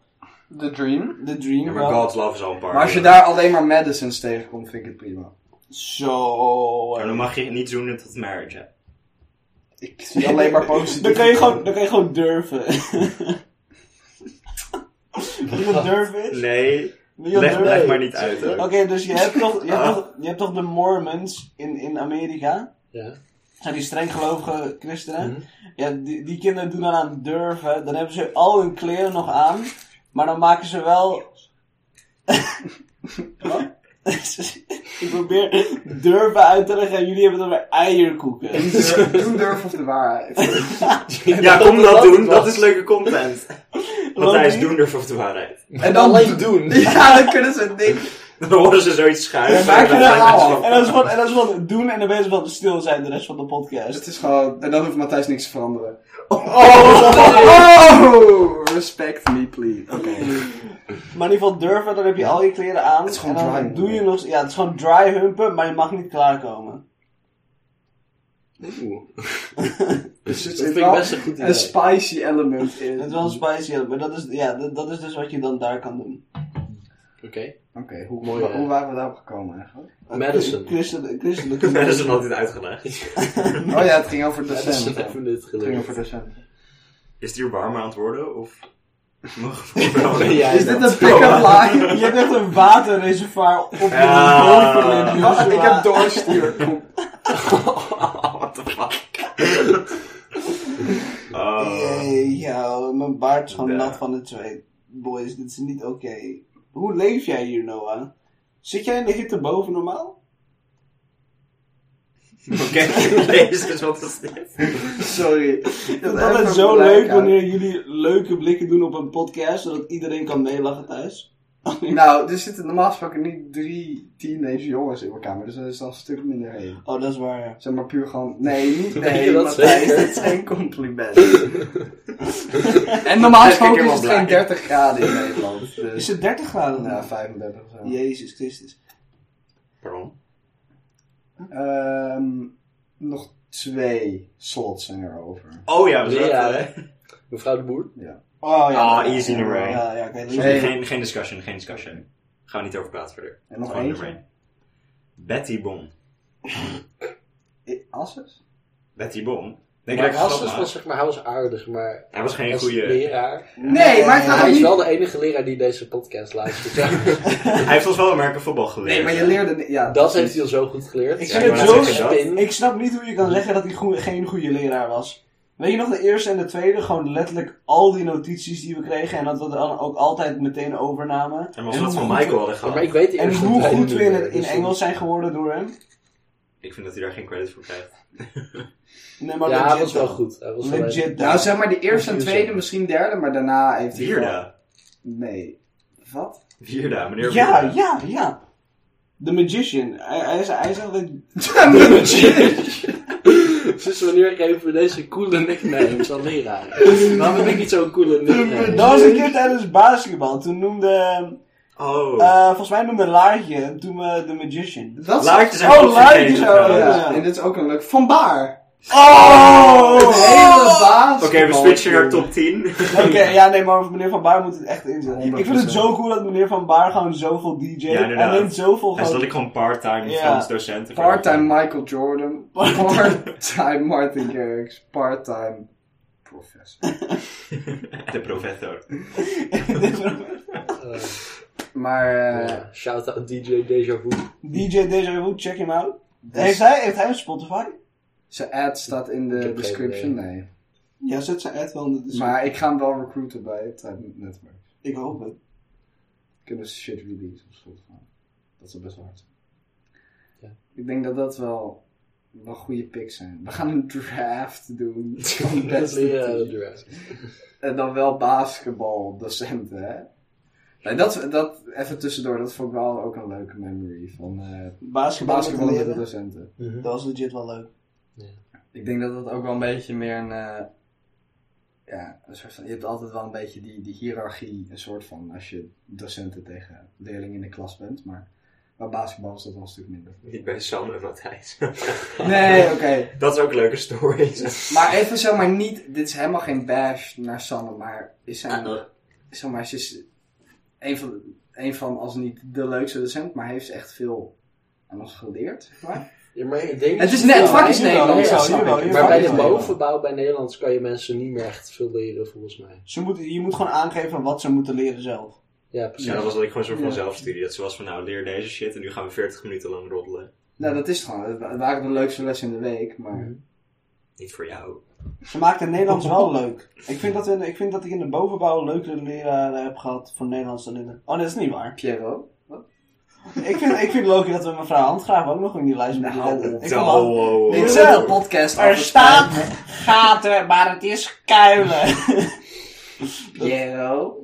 S2: The Dream.
S5: The Dream.
S4: Ja, maar
S5: wel.
S4: God's Love is al een paar.
S2: Maar als je daar alleen maar Madisons tegenkomt, vind ik het prima.
S5: Zo.
S4: Maar dan mag je niet zoenen tot marriage. hè?
S2: Ik zie alleen maar positief.
S5: Dan kan je gewoon, dan kan je gewoon durven. Wil je wat durven is?
S4: Nee,
S5: Wil je wat
S4: leg,
S5: durven?
S4: leg maar niet uit.
S5: Oké,
S4: Ook.
S5: dus je hebt, toch, je, hebt
S4: Ah.
S5: toch, je hebt toch de Mormons in, in Amerika?
S2: Dus
S3: Ja.
S5: Dat Zijn die streng gelovige christenen?
S3: Mhm.
S5: Ja, die, die kinderen doen dan aan durven. Dan hebben ze al hun kleren nog aan. Maar dan maken ze wel... Wat? Ik probeer durven uit te leggen en jullie hebben het over eierkoeken.
S2: Doe durf of de waarheid.
S4: Ja, kom
S3: dat
S4: dat doen.
S3: was-
S4: Dat is leuke content. Matthijs,
S5: niet?
S4: doen durf of de waarheid.
S2: En
S3: En
S2: dan-
S3: dan alleen doen.
S2: Ja, dan kunnen ze het niet.
S4: Dan horen ze zoiets schuiven.
S2: Ja, maak je
S4: En
S2: er
S4: dan zijn
S2: nou
S4: mensen-
S5: En dat is van, en dat is van doen en dan ben je van stil zijn de rest van de
S2: Dus het
S5: podcast.
S2: is gewoon... En dan hoeft Matthijs niks te veranderen.
S3: oh,
S5: Oh!
S2: Oh, respect me please. Oké.
S5: Maar in ieder geval durven, dan heb je al je kleren aan.
S2: Het is gewoon
S5: en dan
S2: dry humpen.
S5: doe je nog... Ja, het is gewoon dry humpen, maar je mag niet klaarkomen.
S3: Oeh.
S2: Dus het zit
S3: Dat vind ik
S2: wel
S3: best een goed idee.
S2: Een spicy element in.
S5: Het is wel een spicy, ja, maar dat is, ja, dat, dat is dus wat je dan daar kan doen.
S3: Oké.
S2: Oké, hoe,
S3: Mooi,
S2: wa-
S3: hè?
S2: hoe waren we daarop gekomen eigenlijk?
S3: Madison.
S5: Christelijke... christelijke
S4: Dat is dan altijd uitgelegd.
S2: Oh ja, het ging over
S3: Madison
S2: docenten.
S3: hebben we dit
S2: Het ging
S3: geleerd.
S2: over docenten.
S4: Is het hier warmer aan het worden? Of mag het wel?
S3: Ja,
S2: Is dit een
S4: Ja.
S2: pick-up line?
S5: Je hebt echt een waterreservoir op je
S4: Ja.
S5: bovenlip, Joshua.
S2: Ik heb doorstuur. Kom.
S4: What the fuck? Oh.
S5: Jee, ja, mijn baard is gewoon
S4: Ja.
S5: nat van het zweet. Boys, dit is niet oké. Hoe leef jij hier, Noah? Zit jij in de hitte boven normaal?
S4: Oké, Jezus, wat is dit?
S2: Sorry.
S5: Ik vind het altijd zo leuk wanneer jullie leuke blikken doen op een podcast, zodat iedereen kan meelachen thuis.
S2: Nou, er zitten normaal gesproken niet drie teenage jongens in elkaar, maar dus dat is dan een stuk minder heen.
S5: Oh, dat is waar, ja.
S2: Zeg maar puur gewoon, nee, niet
S3: Meen je
S2: nee,
S3: dat
S2: Matthijs,
S3: zeker?
S2: dat is geen compliment. en normaal
S4: Daar ben ik
S2: gesproken is
S4: helemaal
S2: het
S4: blij.
S2: geen 30 graden in Nederland.
S5: Is
S2: Dus,
S5: het 30 graden?
S2: nou, 35 of zo.
S5: Jezus Christus.
S4: Pardon?
S2: Ehm, nog twee slots zijn er over.
S4: Oh ja, we zaten...
S3: Ja.
S4: hè?
S3: Mevrouw de Boer.
S5: Oh ja.
S4: Ah, easy
S5: ja,
S4: in the rain.
S5: Ja, ja, oké.
S2: Hey.
S5: leuk.
S4: Nee, Geen, geen discussion, geen discussion. Gaan we niet over praten verder.
S2: En nog
S4: Gewoon
S2: eentje?
S4: nummer één. Betty Bon.
S2: I- Asses?
S4: Betty Bon? Denk
S3: maar
S4: je dat ik
S2: dus
S3: Hans
S4: het
S3: is
S4: snap,
S3: wel,
S4: maar-
S3: zeg maar, hij was aardig, maar
S4: Hij was geen
S3: als
S4: goede.
S3: leraar.
S2: Nee, maar het gaat
S3: Hij
S2: ook
S3: is
S2: niet...
S3: wel de enige leraar die deze podcast luistert.
S4: Hij heeft ons wel Amerika voetbal geleerd.
S2: Nee, maar je leerde... Ja,
S3: Dat heeft hij al zo goed geleerd.
S5: Ik
S4: Ja,
S5: vind
S4: ik
S5: het
S4: wou
S5: zo
S4: net zeggen,
S5: spin. Ik snap niet hoe je kan zeggen dat hij goe- geen goede leraar was. Weet je nog, de eerste en de tweede, gewoon letterlijk al die notities die we kregen en dat we dan ook altijd meteen overnamen.
S4: En als
S5: En
S4: we dat
S5: hoe
S4: van
S5: goed
S4: Michael
S5: we-
S4: hadden
S3: Ja,
S4: gehad.
S3: maar ik weet de
S5: En
S3: eerste
S5: hoe
S3: tijd
S5: goed
S3: niet
S5: we in,
S3: meer,
S5: het, in
S3: dus
S5: Engels zijn geworden door hem.
S4: Ik vind dat hij daar geen credit voor krijgt.
S5: Nee,
S3: dan-
S5: maar
S3: Ja,
S5: legit
S3: hij was wel
S5: dan.
S3: goed. Hij was wel
S5: Legit dan.
S2: Nou, zeg maar de eerste en
S3: Misschien
S2: tweede,
S3: zo.
S2: misschien derde, maar daarna heeft hij... wel-
S4: Vierda.
S2: Nee. Wat?
S4: Vierda, meneer
S5: ja,
S4: Vierda.
S5: ja, ja. The Magician. Hij, hij is, hij is altijd...
S3: Sinds wanneer geven we deze coole nicknames aan leraren? Waarom heb ik niet zo'n coole nickname?
S5: Dat was een keer tijdens basketbal. Toen noemde...
S4: Oh.
S5: eh, volgens mij noemde Laartje toen we The Magician.
S2: Dat is...
S4: Laartjes en
S5: Oh,
S4: Godfrey
S5: Laartjes
S4: Kane,
S5: ook,
S4: trouwens.
S5: ja.
S2: Ja, dus- en dit is ook een leuk... Van Baar.
S5: Oh!
S2: Een hele baas.
S4: Oké, we switchen naar top 10.
S5: Oké, ja, nee, maar meneer Van Baar moet het echt inzetten.
S2: 100%.
S5: Ik vind het zo cool dat meneer Van Baar gewoon zoveel DJ
S4: Ja,
S5: en
S4: inderdaad.
S5: neemt zoveel
S4: Hij is dat
S5: gewoon...
S4: ik gewoon part-time
S5: Ja.
S4: Frans docent.
S2: Part-time Michael Jordan. Part-time Martin Garrix. Part-time professor.
S4: De professor.
S3: Eh,
S2: Maar eh,
S3: ja, Shout-out DJ Deja Vu.
S5: DJ Deja Vu, check him out.
S2: Dus-
S5: Heeft, hij, heeft hij een Spotify?
S2: zijn ad staat in
S3: Ik
S2: de
S3: heb geen
S2: description. Nee.
S5: Ja, zet zijn ad wel in de description.
S2: Maar ik ga hem wel recruiten bij het eh, netwerk.
S5: Ik hoop het.
S2: Kunnen ze shit release of zo. Dat is best wel hard.
S3: Ja.
S2: Ik denk dat dat wel, wel goede picks zijn. We gaan een draft doen. van
S3: Dat is
S2: beste
S3: weer, eh,
S2: teams.
S3: de rest.
S2: En dan wel basketbaldocenten, hè? Nee, dat, dat even tussendoor, dat vond ik wel ook een leuke memory van eh
S5: Basketbal, dus.
S2: basketbal met de
S5: leren.
S2: docenten.
S5: Dat was legit wel leuk.
S2: Ik denk dat dat ook wel een beetje meer een. eh, ja, een soort van, je hebt altijd wel een beetje die, die hiërarchie, een soort van als je docenten tegen leerlingen in de klas bent, maar bij basketbal is dat wel een stuk minder.
S4: Ik ben Sander Matthijs.
S2: Nee, oké.
S4: dat is ook een leuke story.
S2: Maar even zomaar niet, dit is helemaal geen bash naar Sanne, maar is zijn, zomaar, ze is dus een van, een van, als niet de leukste docent, maar heeft ze echt veel aan ons geleerd, zeg maar.
S3: Ja, maar ik denk...
S2: Het is net, het vak is Nederlands,
S3: Ja,
S2: dat snap
S5: jawel,
S2: ik.
S5: jawel.
S3: Maar bij
S5: Ja,
S3: de
S5: ja.
S3: bovenbouw bij Nederlands kan je mensen niet meer echt veel leren, volgens mij.
S5: Ze moeten, je moet gewoon aangeven wat ze moeten leren zelf.
S3: Ja, precies.
S4: Ja, dat was dat ik gewoon een soort van
S2: Ja.
S4: zelfstudie. Dat ze was van, nou, leer deze shit en nu gaan we 40 minuten lang roddelen.
S2: Nou, dat is het gewoon, het wa- waren de leukste lessen in de week, maar...
S4: Niet voor jou.
S5: Ze maakten Nederlands wel leuk. Ik vind, dat in, ik vind dat ik in de bovenbouw leukere leraren heb gehad voor Nederlands dan in de... Oh, dat is niet waar.
S2: Piero?
S5: ik, vind, ik vind het leuk dat we mevrouw Handgraaf ook nog in die lijst moeten
S2: Nou,
S5: zetten. Ik
S4: Zo,
S5: vind dat-
S4: wow, wow.
S2: Dit is
S5: Zo.
S2: een podcast
S5: Er
S2: over
S5: staat
S2: spijt.
S5: gaten, maar het is kuilen.
S2: Piero.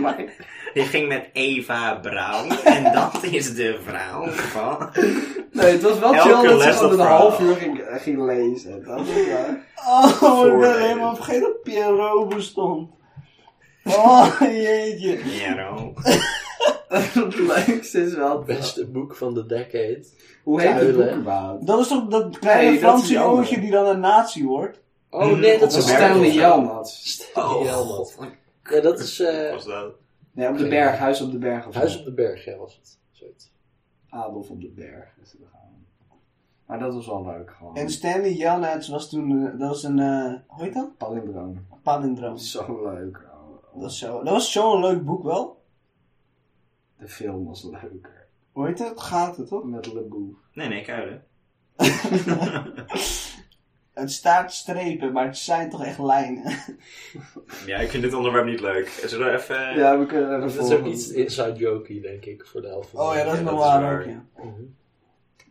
S2: Maar-
S4: Je ging met Eva Brown en dat is de vrouw van...
S2: nee, het was wel
S4: Elke
S2: chill dat ze
S4: les
S2: gewoon
S4: dat
S2: een
S4: verhaal.
S2: half uur ging, ging lezen. Dat was wel...
S5: Oh, ik ben
S4: Voorlezen.
S5: helemaal vergeten dat Pierrot bestond. Oh, jeetje.
S4: Jero.
S2: Het leukste is wel...
S3: Beste boek van de decade.
S2: Hoe heet het
S3: Kuilen.
S2: boek überhaupt?
S5: Dat is toch dat kleine
S2: Nee, dat is die
S5: Franse
S2: andere.
S5: jongetje die dan een nazi wordt?
S3: Oh nee,
S2: Dat
S3: dat
S4: Op
S2: is
S4: de
S3: is
S4: berg
S2: Stanley
S4: of zo.
S2: Jelmats.
S4: Oh,
S3: Ja,
S4: god.
S3: Ja, dat is
S4: Wat
S3: eh,
S4: was dat?
S2: Nee, op de berg. Huis op de berg. Of
S3: Huis op de Berg, ja, was het. Zoiets.
S2: Adolf op de berg. is het gegaan. Maar dat was wel leuk gewoon.
S5: En Stanley Jelnats was toen, eh, dat was een, eh, hoe heet dat?
S2: Palindroom.
S5: Palindroom.
S2: Zo leuk. oh.
S5: Dat, is zo, dat was zo'n leuk boek wel.
S2: De film was leuker.
S5: Hoe heet dat? Gaten, toch?
S2: Met Leboe.
S4: Nee, nee, kuilen.
S5: Het staat strepen, maar het zijn toch echt lijnen.
S4: Ja, ik vind dit onderwerp niet leuk. Zullen we even...
S2: Ja, we kunnen naar de
S3: Dat is ook
S2: volgende.
S3: iets inside joke denk ik, voor de helft. van
S5: Oh
S3: de-
S5: ja, dat is
S4: Ja,
S5: nog
S4: dat is
S5: waar
S4: waar.
S5: ook, ja.
S3: Mhm.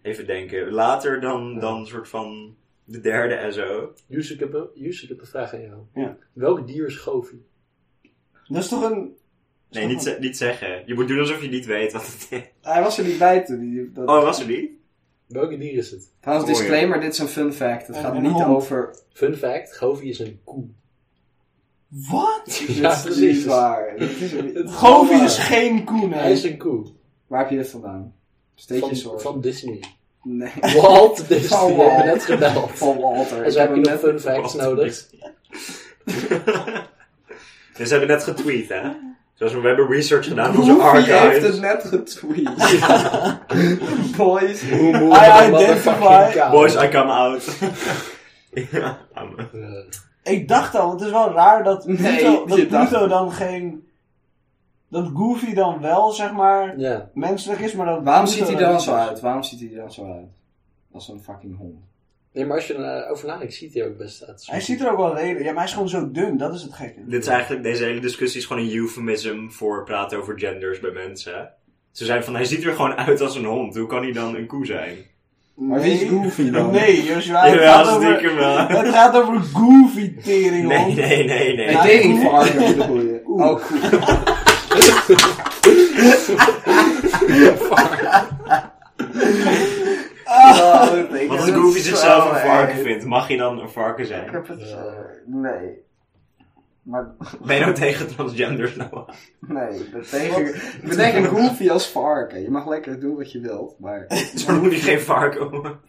S4: Even denken. Later dan, dan een soort van de derde en zo.
S3: Joes, ik heb een- Joes, ik heb een vraag aan jou.
S5: Ja.
S3: Welk dier is Goofy?
S5: Dat is toch een...
S4: Nee, niet, ze- niet zeggen. Je moet doen alsof je niet weet wat het is.
S2: Hij was er niet bij toen. Die, dat...
S4: Oh, was er niet?
S3: Welk dier is het?
S2: Trouwens,
S4: Oh, ja.
S2: disclaimer. Dit is een fun fact. Het
S5: Een-
S2: gaat
S5: een
S2: niet
S5: hond.
S2: over...
S3: Fun fact, Goofy is een koe.
S5: Wat?
S2: dit is niet waar. Dit is niet-
S3: Het is
S5: Goofy
S3: wel
S5: is
S3: waar.
S5: geen koe,
S3: Hij is
S5: nee.
S3: een koe.
S2: Waar heb je dit vandaan? Steetje
S3: Van,
S2: soort.
S3: van Disney.
S2: Nee.
S3: Walt Disney,
S2: Van
S3: we hebben
S2: Walt.
S3: net gebeld.
S2: Van Walter.
S3: En
S2: Ik
S3: ze
S2: heb
S3: hebben
S2: hem
S3: nog
S2: net...
S3: fun facts
S4: Wat?
S3: nodig.
S4: Dus ze hebben net getweet, hè? Zoals we, we hebben research gedaan op onze
S2: Hoefie heeft
S4: archives.
S2: het nou- net getweet. Boys.
S3: Moe,
S5: I
S3: moe,
S5: identify.
S3: motherfucking kaal.
S4: Boys, I come out. ja, I'm-
S3: Eh,
S5: Ik dacht al, want het is wel raar dat Pluto,
S2: Nee,
S5: dat
S2: je dacht-
S5: Pluto dan geen... Dat Goofy dan wel, zeg maar,
S3: Ja.
S5: menselijk is, maar dat...
S2: Waarom
S5: Pluto
S2: ziet hij er dan
S5: niet
S2: zo uit? Waarom ziet hij er dan zo uit? Als een fucking hond.
S3: Nee, maar als je erover nadenkt, ziet hij er ook best uit.
S5: Hij ziet er ook wel redelijk... Ja, maar hij is gewoon zo dun, dat is het gekke.
S4: Dit is eigenlijk, deze hele discussie is gewoon een euphemism voor praten over genders bij mensen. Ze zijn van, hij ziet er gewoon uit als een hond. Hoe kan hij dan een koe zijn?
S2: Maar wie is Goofy dan?
S5: Nee, Joshua, het
S4: Jawel,
S5: gaat over...
S4: stiekem wel.
S5: Het gaat over Goofy, tering,
S4: Nee, nee, nee, nee.
S2: Ik
S5: Ja,
S2: denk niet
S5: oeh.
S2: voor Arno de goeie.
S5: Oeh.
S2: Oh, cool. Ah,
S4: Want als Goofy zichzelf een varken vindt, mag hij dan een varken zijn?
S2: eh, Nee. Maar
S4: Ben je nou tegen transgenders nou?
S2: nee, ik ben tegen. Ik ben tegen Goofy als varken. Je mag lekker doen wat je wilt, maar.
S4: Dus dan moet hij geen varken worden.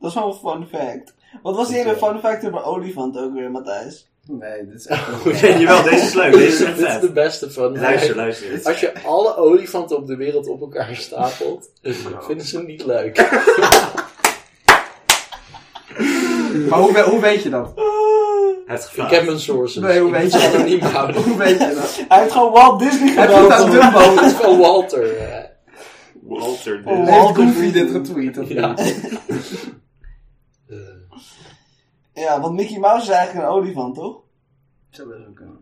S5: Dat is wel een fun fact. Wat was die hele fun fact over olifant ook weer, Matthijs?
S2: Nee, dit is echt.
S4: Ja, jawel, deze is leuk, deze is echt
S3: Dit is de
S4: vet.
S3: beste van.
S4: Luister, luister.
S3: Als je alle olifanten op de wereld op elkaar stapelt, vinden ze hem niet leuk.
S2: Maar hoe, hoe weet je dat?
S4: Hij heeft
S3: Ik
S4: gevraagd.
S3: heb mijn sources.
S2: Nee, hoe
S3: Ik
S2: weet
S3: moet
S2: je
S3: ze
S2: dat?
S3: anoniem houden. Oh,
S2: Hoe weet je dat?
S5: Hij heeft gewoon Walt Disney
S2: Heb je het aan
S5: gedaan.
S2: Dumbo?
S3: Het is van Walter. eh.
S4: Walter
S5: Oh,
S4: dus.
S2: Heeft
S5: Walter
S2: Goofy dit
S5: Disney.
S2: getweet of
S3: Ja.
S2: niet?
S3: Eh,
S5: Ja, want Mickey Mouse is eigenlijk een olifant, toch?
S2: Zou best wel kunnen.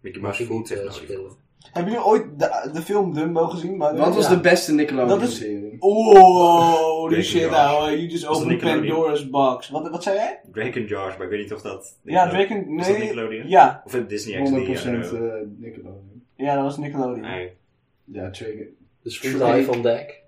S4: Mickey
S3: mag
S4: Mouse
S3: ik
S4: voelt
S3: niet
S4: zich
S3: eh,
S4: nog
S3: spelen.
S5: Hebben jullie ooit de, de film Dumbo gezien? Maar
S2: Wat was
S3: Ja.
S2: de beste Nickelodeon-serie?
S5: Oh, holy
S4: Mickey
S5: shit,
S4: Mouse.
S5: ouwe. You just
S4: Was dat
S5: opened
S4: Nickelodeon?
S5: Pandora's box. Wat, wat zei jij?
S4: Drake and Josh, maar ik weet niet of dat...
S5: Ja, Drake and...
S4: Is dat
S5: Nee.
S4: Nickelodeon?
S5: Ja.
S4: Of het Disney
S2: 100%
S4: XD? I don't know.
S2: eh, Nickelodeon.
S5: ja, dat was Nickelodeon. Eh
S4: Nee.
S2: Ja, Trigger.
S3: De Sweet van Dek.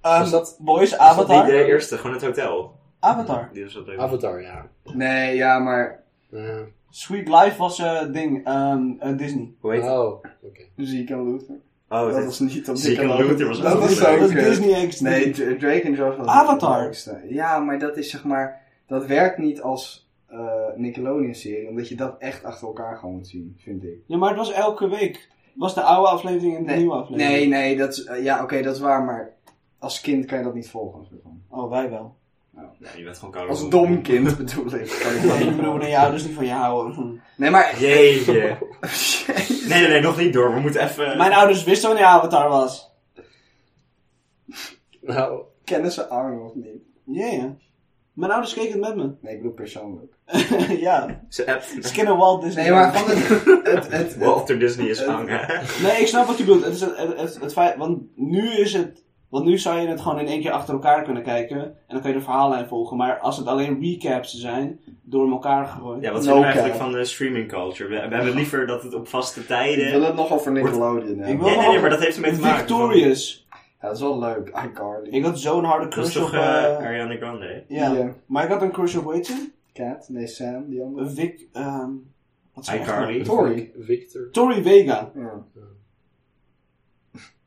S3: Was dat-
S5: Ehm, Boys,
S4: Is dat niet
S5: Avatar.
S4: de eerste, gewoon het hotel.
S5: Avatar.
S4: Die was wat leuk.
S3: Avatar, ja. Nou,
S2: Nee, ja, maar
S3: Ja.
S5: Sweet Life was eh ding, ehm, eh, Disney.
S4: Hoe heet het?
S3: Oh, oké.
S2: Zeke en Luther.
S4: Oh,
S2: dat
S4: het
S2: was
S4: is...
S2: niet op
S4: Zeke en Luther was
S2: Dat
S4: ook
S2: was
S4: leuk.
S2: ook eh,
S5: Dat
S2: kut.
S5: is Disney XD.
S2: Nee, Dra- Drake en Josh was
S5: Avatar.
S2: het belangrijkste. Ja, maar dat is zeg maar... Dat werkt niet als eh, Nickelodeon-serie. Omdat je dat echt achter elkaar gewoon moet zien, vind ik.
S5: Ja, maar het was elke week. Het was de oude aflevering en de nieuwe aflevering.
S2: Nee, nee, dat is... eh, ja, oké, dat is waar, maar... Als kind kan je dat niet volgen. een soort van.
S5: Oh, wij wel.
S4: Ja, je bent gewoon koud.
S2: Als dom kind bedoel ik. kan je dat niet
S5: Nee, ik bedoel,
S2: volgen.
S5: wanneer je ouders niet van je houden.
S2: Nee, maar...
S4: Jeetje. Nee, nee, nee, nog niet door. We moeten even...
S5: Mijn ouders wisten wanneer Avatar was.
S3: Nou,
S2: Kennen ze Arnold niet?
S5: Ja, ja. Mijn ouders keken het met me.
S2: Nee, ik bedoel persoonlijk.
S5: ja.
S4: Ze app-
S5: Skinner Walt Disney.
S2: Nee, maar gewoon het... het, het, het
S4: Walter Disney
S2: Eh,
S4: is hangen.
S5: Nee, ik snap wat je bedoelt. Het is het, het, het, het feit, want nu is het... Want nu zou je het gewoon in één keer achter elkaar kunnen kijken. En dan kun je de verhaallijn volgen. Maar als het alleen recaps zijn, door elkaar gegooid.
S4: Ja, wat
S2: No
S4: vinden we
S2: cap.
S4: eigenlijk van de streaming culture? We, we hebben liever dat het op vaste tijden...
S2: Ik wil het nog over Nickelodeon
S5: Ik
S2: hebben.
S5: wil-
S4: Nee, nee, nee, maar dat heeft ermee te maken.
S5: Victorious.
S2: Ja, dat is wel leuk. iCarly.
S5: Ik had zo'n harde
S4: Dat is
S5: crush op...
S4: toch eh,
S5: eh,
S4: Ariana Grande? hè?
S5: ja.
S2: Ja.
S5: Maar ik had een crush op, weet je?
S2: eh, Cat, nee, Sam, die andere.
S5: Vic... ehm wat zei ik?
S4: iCarly?
S2: Tori.
S3: Victor.
S5: Tori Vega.
S2: Ja.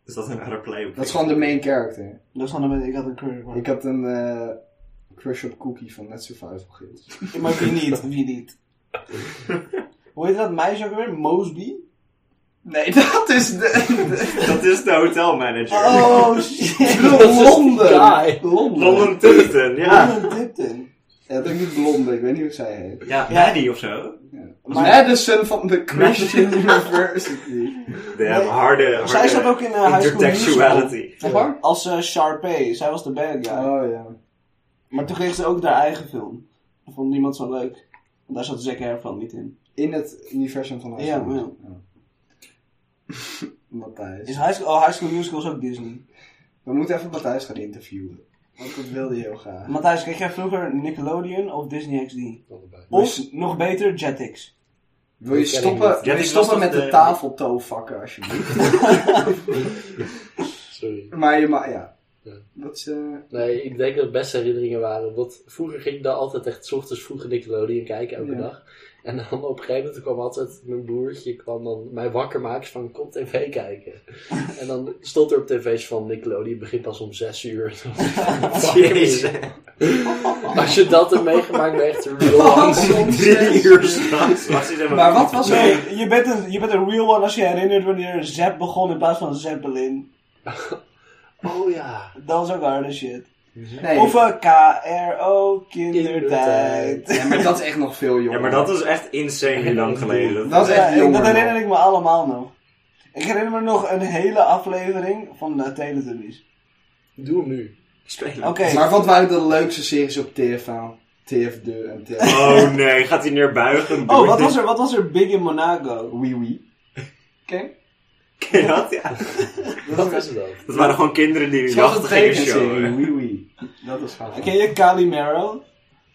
S4: Is dat een rare play? op
S2: Dat is
S4: Victor?
S2: gewoon de main character.
S5: Dat is dan een... Ik had een crush op haar.
S2: Ik had een eh, crush op Cookie van Net Survival Guild.
S5: Ja, maar wie niet? Wie niet? Hoe heet dat meisje ook weer? Mosby?
S2: Nee, dat is de... de-
S4: Dat is de hotelmanager.
S5: Oh shit!
S2: Ik bedoel, Londen.
S3: guy.
S2: Londen.
S4: Londen Tipton, ja.
S5: Wat een Tipton.
S2: Ja, het is ook niet blonde. Ik weet niet hoe zij heet.
S4: Ja, Maddie of zo.
S5: Maar
S2: Madison van de Christian University.
S4: De harde, harde
S5: zij zat ook in eh, High School Musical.
S4: intertextuality.
S2: Echt waar?
S5: Als eh Sharpay. Zij was de bad guy.
S2: Oh ja.
S5: Maar toen kreeg ze ook haar eigen film. Dat vond niemand zo leuk. Want daar zat Zac Efron niet in.
S2: In het universum van High
S5: Ja,
S2: School. Ja. Matthijs.
S5: Is high school, oh, High School Musical is ook Disney.
S2: We moeten even Matthijs gaan interviewen. Want dat wilde je heel graag.
S5: Matthijs, kreeg jij vroeger Nickelodeon of Disney XD?
S3: Allebei.
S5: Of, nog beter, Jetix.
S2: Wil je
S3: Ik ken hem
S2: stoppen,
S3: niet.
S2: wil
S4: Ja,
S2: je
S4: ik
S2: stoppen
S4: was
S2: met
S4: dat,
S2: de,
S4: eh,
S2: tafeltoevakken alsjeblieft?
S3: Sorry.
S2: maar je ma ja. Dat is, eh,
S3: Nee, ik denk dat het beste herinneringen waren. Want vroeger ging ik daar altijd echt 's ochtends vroeg Nickelodeon kijken, elke
S2: Ja.
S3: dag. En dan op een gegeven moment kwam altijd mijn broertje kwam dan mij wakker maken van kom tv kijken. en dan stond er op tv's van Nickelodeon begint pas om 6 uur. Fuck me.
S4: Jezus.
S3: Als je dat hebt meegemaakt, ben je echt
S2: Oh,
S3: real.
S2: soms
S4: Drie
S2: zes
S4: uur s'nachts. was hij dan
S2: Maar wat was er?
S5: Nee, je bent, een, je bent een real one als je herinnert wanneer Zep begon in plaats van Zeppelin.
S3: Oh ja.
S5: Dat is ook harde shit.
S2: Nee.
S5: Of eh, een KRO kindertijd.
S2: Ja, maar dat is echt nog veel jonger.
S4: Ja, maar dat was echt insane lang geleden.
S2: Dat is echt
S5: Ja, ik-
S2: jonger
S5: dat herinner
S2: nog.
S5: ik me allemaal nog. Ik herinner me nog een hele aflevering van eh, de Teletubbies.
S3: Doe hem nu.
S4: Spelen.
S5: Oké,
S2: Maar wat waren de leukste series op TFL? TFD en TF.
S4: Oh nee, gaat hij neerbuigen?
S5: oh, wat was, er, wat was er big in Monaco?
S2: Wee wee. Oké.
S4: Ken je dat? Ja.
S3: Wat is dat?
S4: Dat waren gewoon kinderen die de
S2: Zoals een
S4: jacht gingen showen.
S2: tekenserie, wee wee. Dat is gaaf.
S5: Ken je Calimero?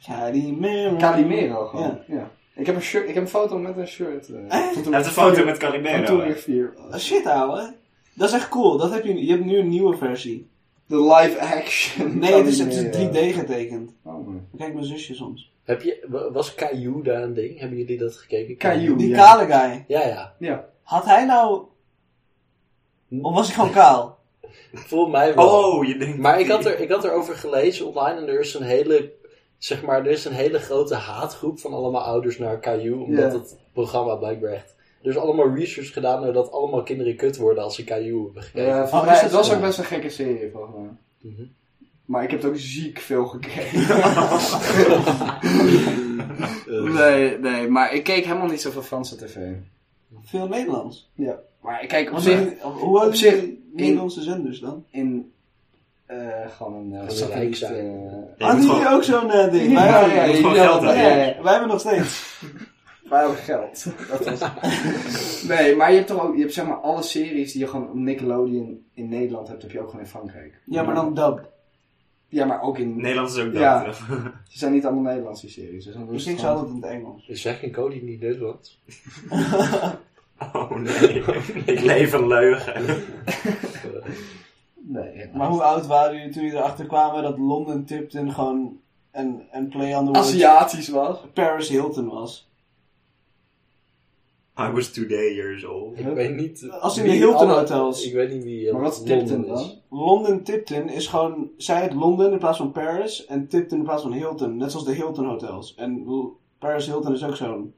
S5: Calimero.
S2: Calimero gewoon. Ja. Ik, heb een shirt, ik heb een foto met een shirt. eh, van toen
S4: Hij
S2: ik
S4: heeft een foto
S2: vier-
S4: met
S2: van toen
S4: Calimero.
S2: ik vier was.
S5: Ah, Shit, ouwe. Dat is echt cool. Dat heb je, je hebt nu een nieuwe versie.
S2: De live action.
S5: Nee, het is, het is
S2: Calimero.
S5: 3D getekend.
S2: Oh, man.
S5: Kijk mijn zusje soms.
S3: Heb je, wa- was Caillou daar een ding? Hebben jullie dat gekeken?
S2: Caillou.
S5: Die
S2: ja.
S5: kale guy.
S3: Ja, ja.
S5: Had hij nou...
S2: Hm?
S5: Of was hij gewoon kaal?
S3: Volgens mij wel.
S4: Oh, je denkt...
S3: Maar ik had, er, ik had erover gelezen online en er is een hele, zeg maar, er is een hele grote haatgroep van allemaal ouders naar Caillou, omdat
S2: Ja.
S3: het programma blijkbaar echt... Er is allemaal research gedaan naar dat allemaal kinderen kut worden als ze Caillou hebben gekeken.
S2: Ja,
S5: Oh,
S2: Eh, volgens mij,
S5: is dat
S2: het was
S5: zo?
S2: ook best een gekke serie volgens mij.
S3: Mhm.
S2: Maar ik heb het ook ziek veel gekeken. nee, nee, maar ik keek helemaal niet zoveel Franse tv.
S5: Veel Nederlands.
S2: Maar ik kijk op
S5: Want
S2: zich
S5: die- hoe
S2: op
S5: hadden
S2: zich-
S5: die Nederlandse zenders dan?
S2: in eh, gewoon een
S3: Gewoon
S2: satelliet.
S3: rijk zijn.
S2: eh,
S4: Je moet
S5: Hadden jullie
S4: gewoon-
S5: ook zo'n eh, ding?
S2: Ja,
S5: Wij
S2: ja,
S5: hadden-
S2: ja,
S4: moet
S2: jullie
S4: gewoon
S2: hadden-
S4: geld hebben.
S2: ja, ja, ja.
S5: Wij hebben nog steeds.
S2: Wij hebben geld. Dat was het. nee, maar je hebt toch ook, je hebt zeg maar alle series die je gewoon op Nickelodeon in Nederland hebt, heb je ook gewoon in Frankrijk.
S5: Ja, maar dan dub.
S2: Ja, maar ook in.
S4: Nederlands is ook
S2: Ja.
S4: dat.
S2: Ze zijn niet allemaal Nederlandse series. Dus dan doen
S5: Dus
S2: ze
S5: ik
S2: het
S5: zei
S2: gewoon-
S5: altijd in het Engels.
S3: Is Zack en Cody niet Nederlands?
S4: Oh nee, ik leef een leugen.
S2: Nee, ja.
S5: Maar hoe oud waren jullie toen jullie erachter kwamen dat London Tipton gewoon een, een play on the words
S2: Aziatisch was.
S5: Paris Hilton was?
S4: I was today years old.
S3: Ik weet niet...
S5: Als in
S3: wie
S5: de Hilton
S3: alle-
S5: hotels.
S3: Ik weet niet wie... eh,
S2: Maar wat is
S3: Londen
S2: Tipton
S3: is.
S2: dan?
S5: London Tipton is gewoon, zij het Londen in plaats van Paris en Tipton in plaats van Hilton. Net zoals de Hilton hotels. En L- Paris Hilton is ook zo'n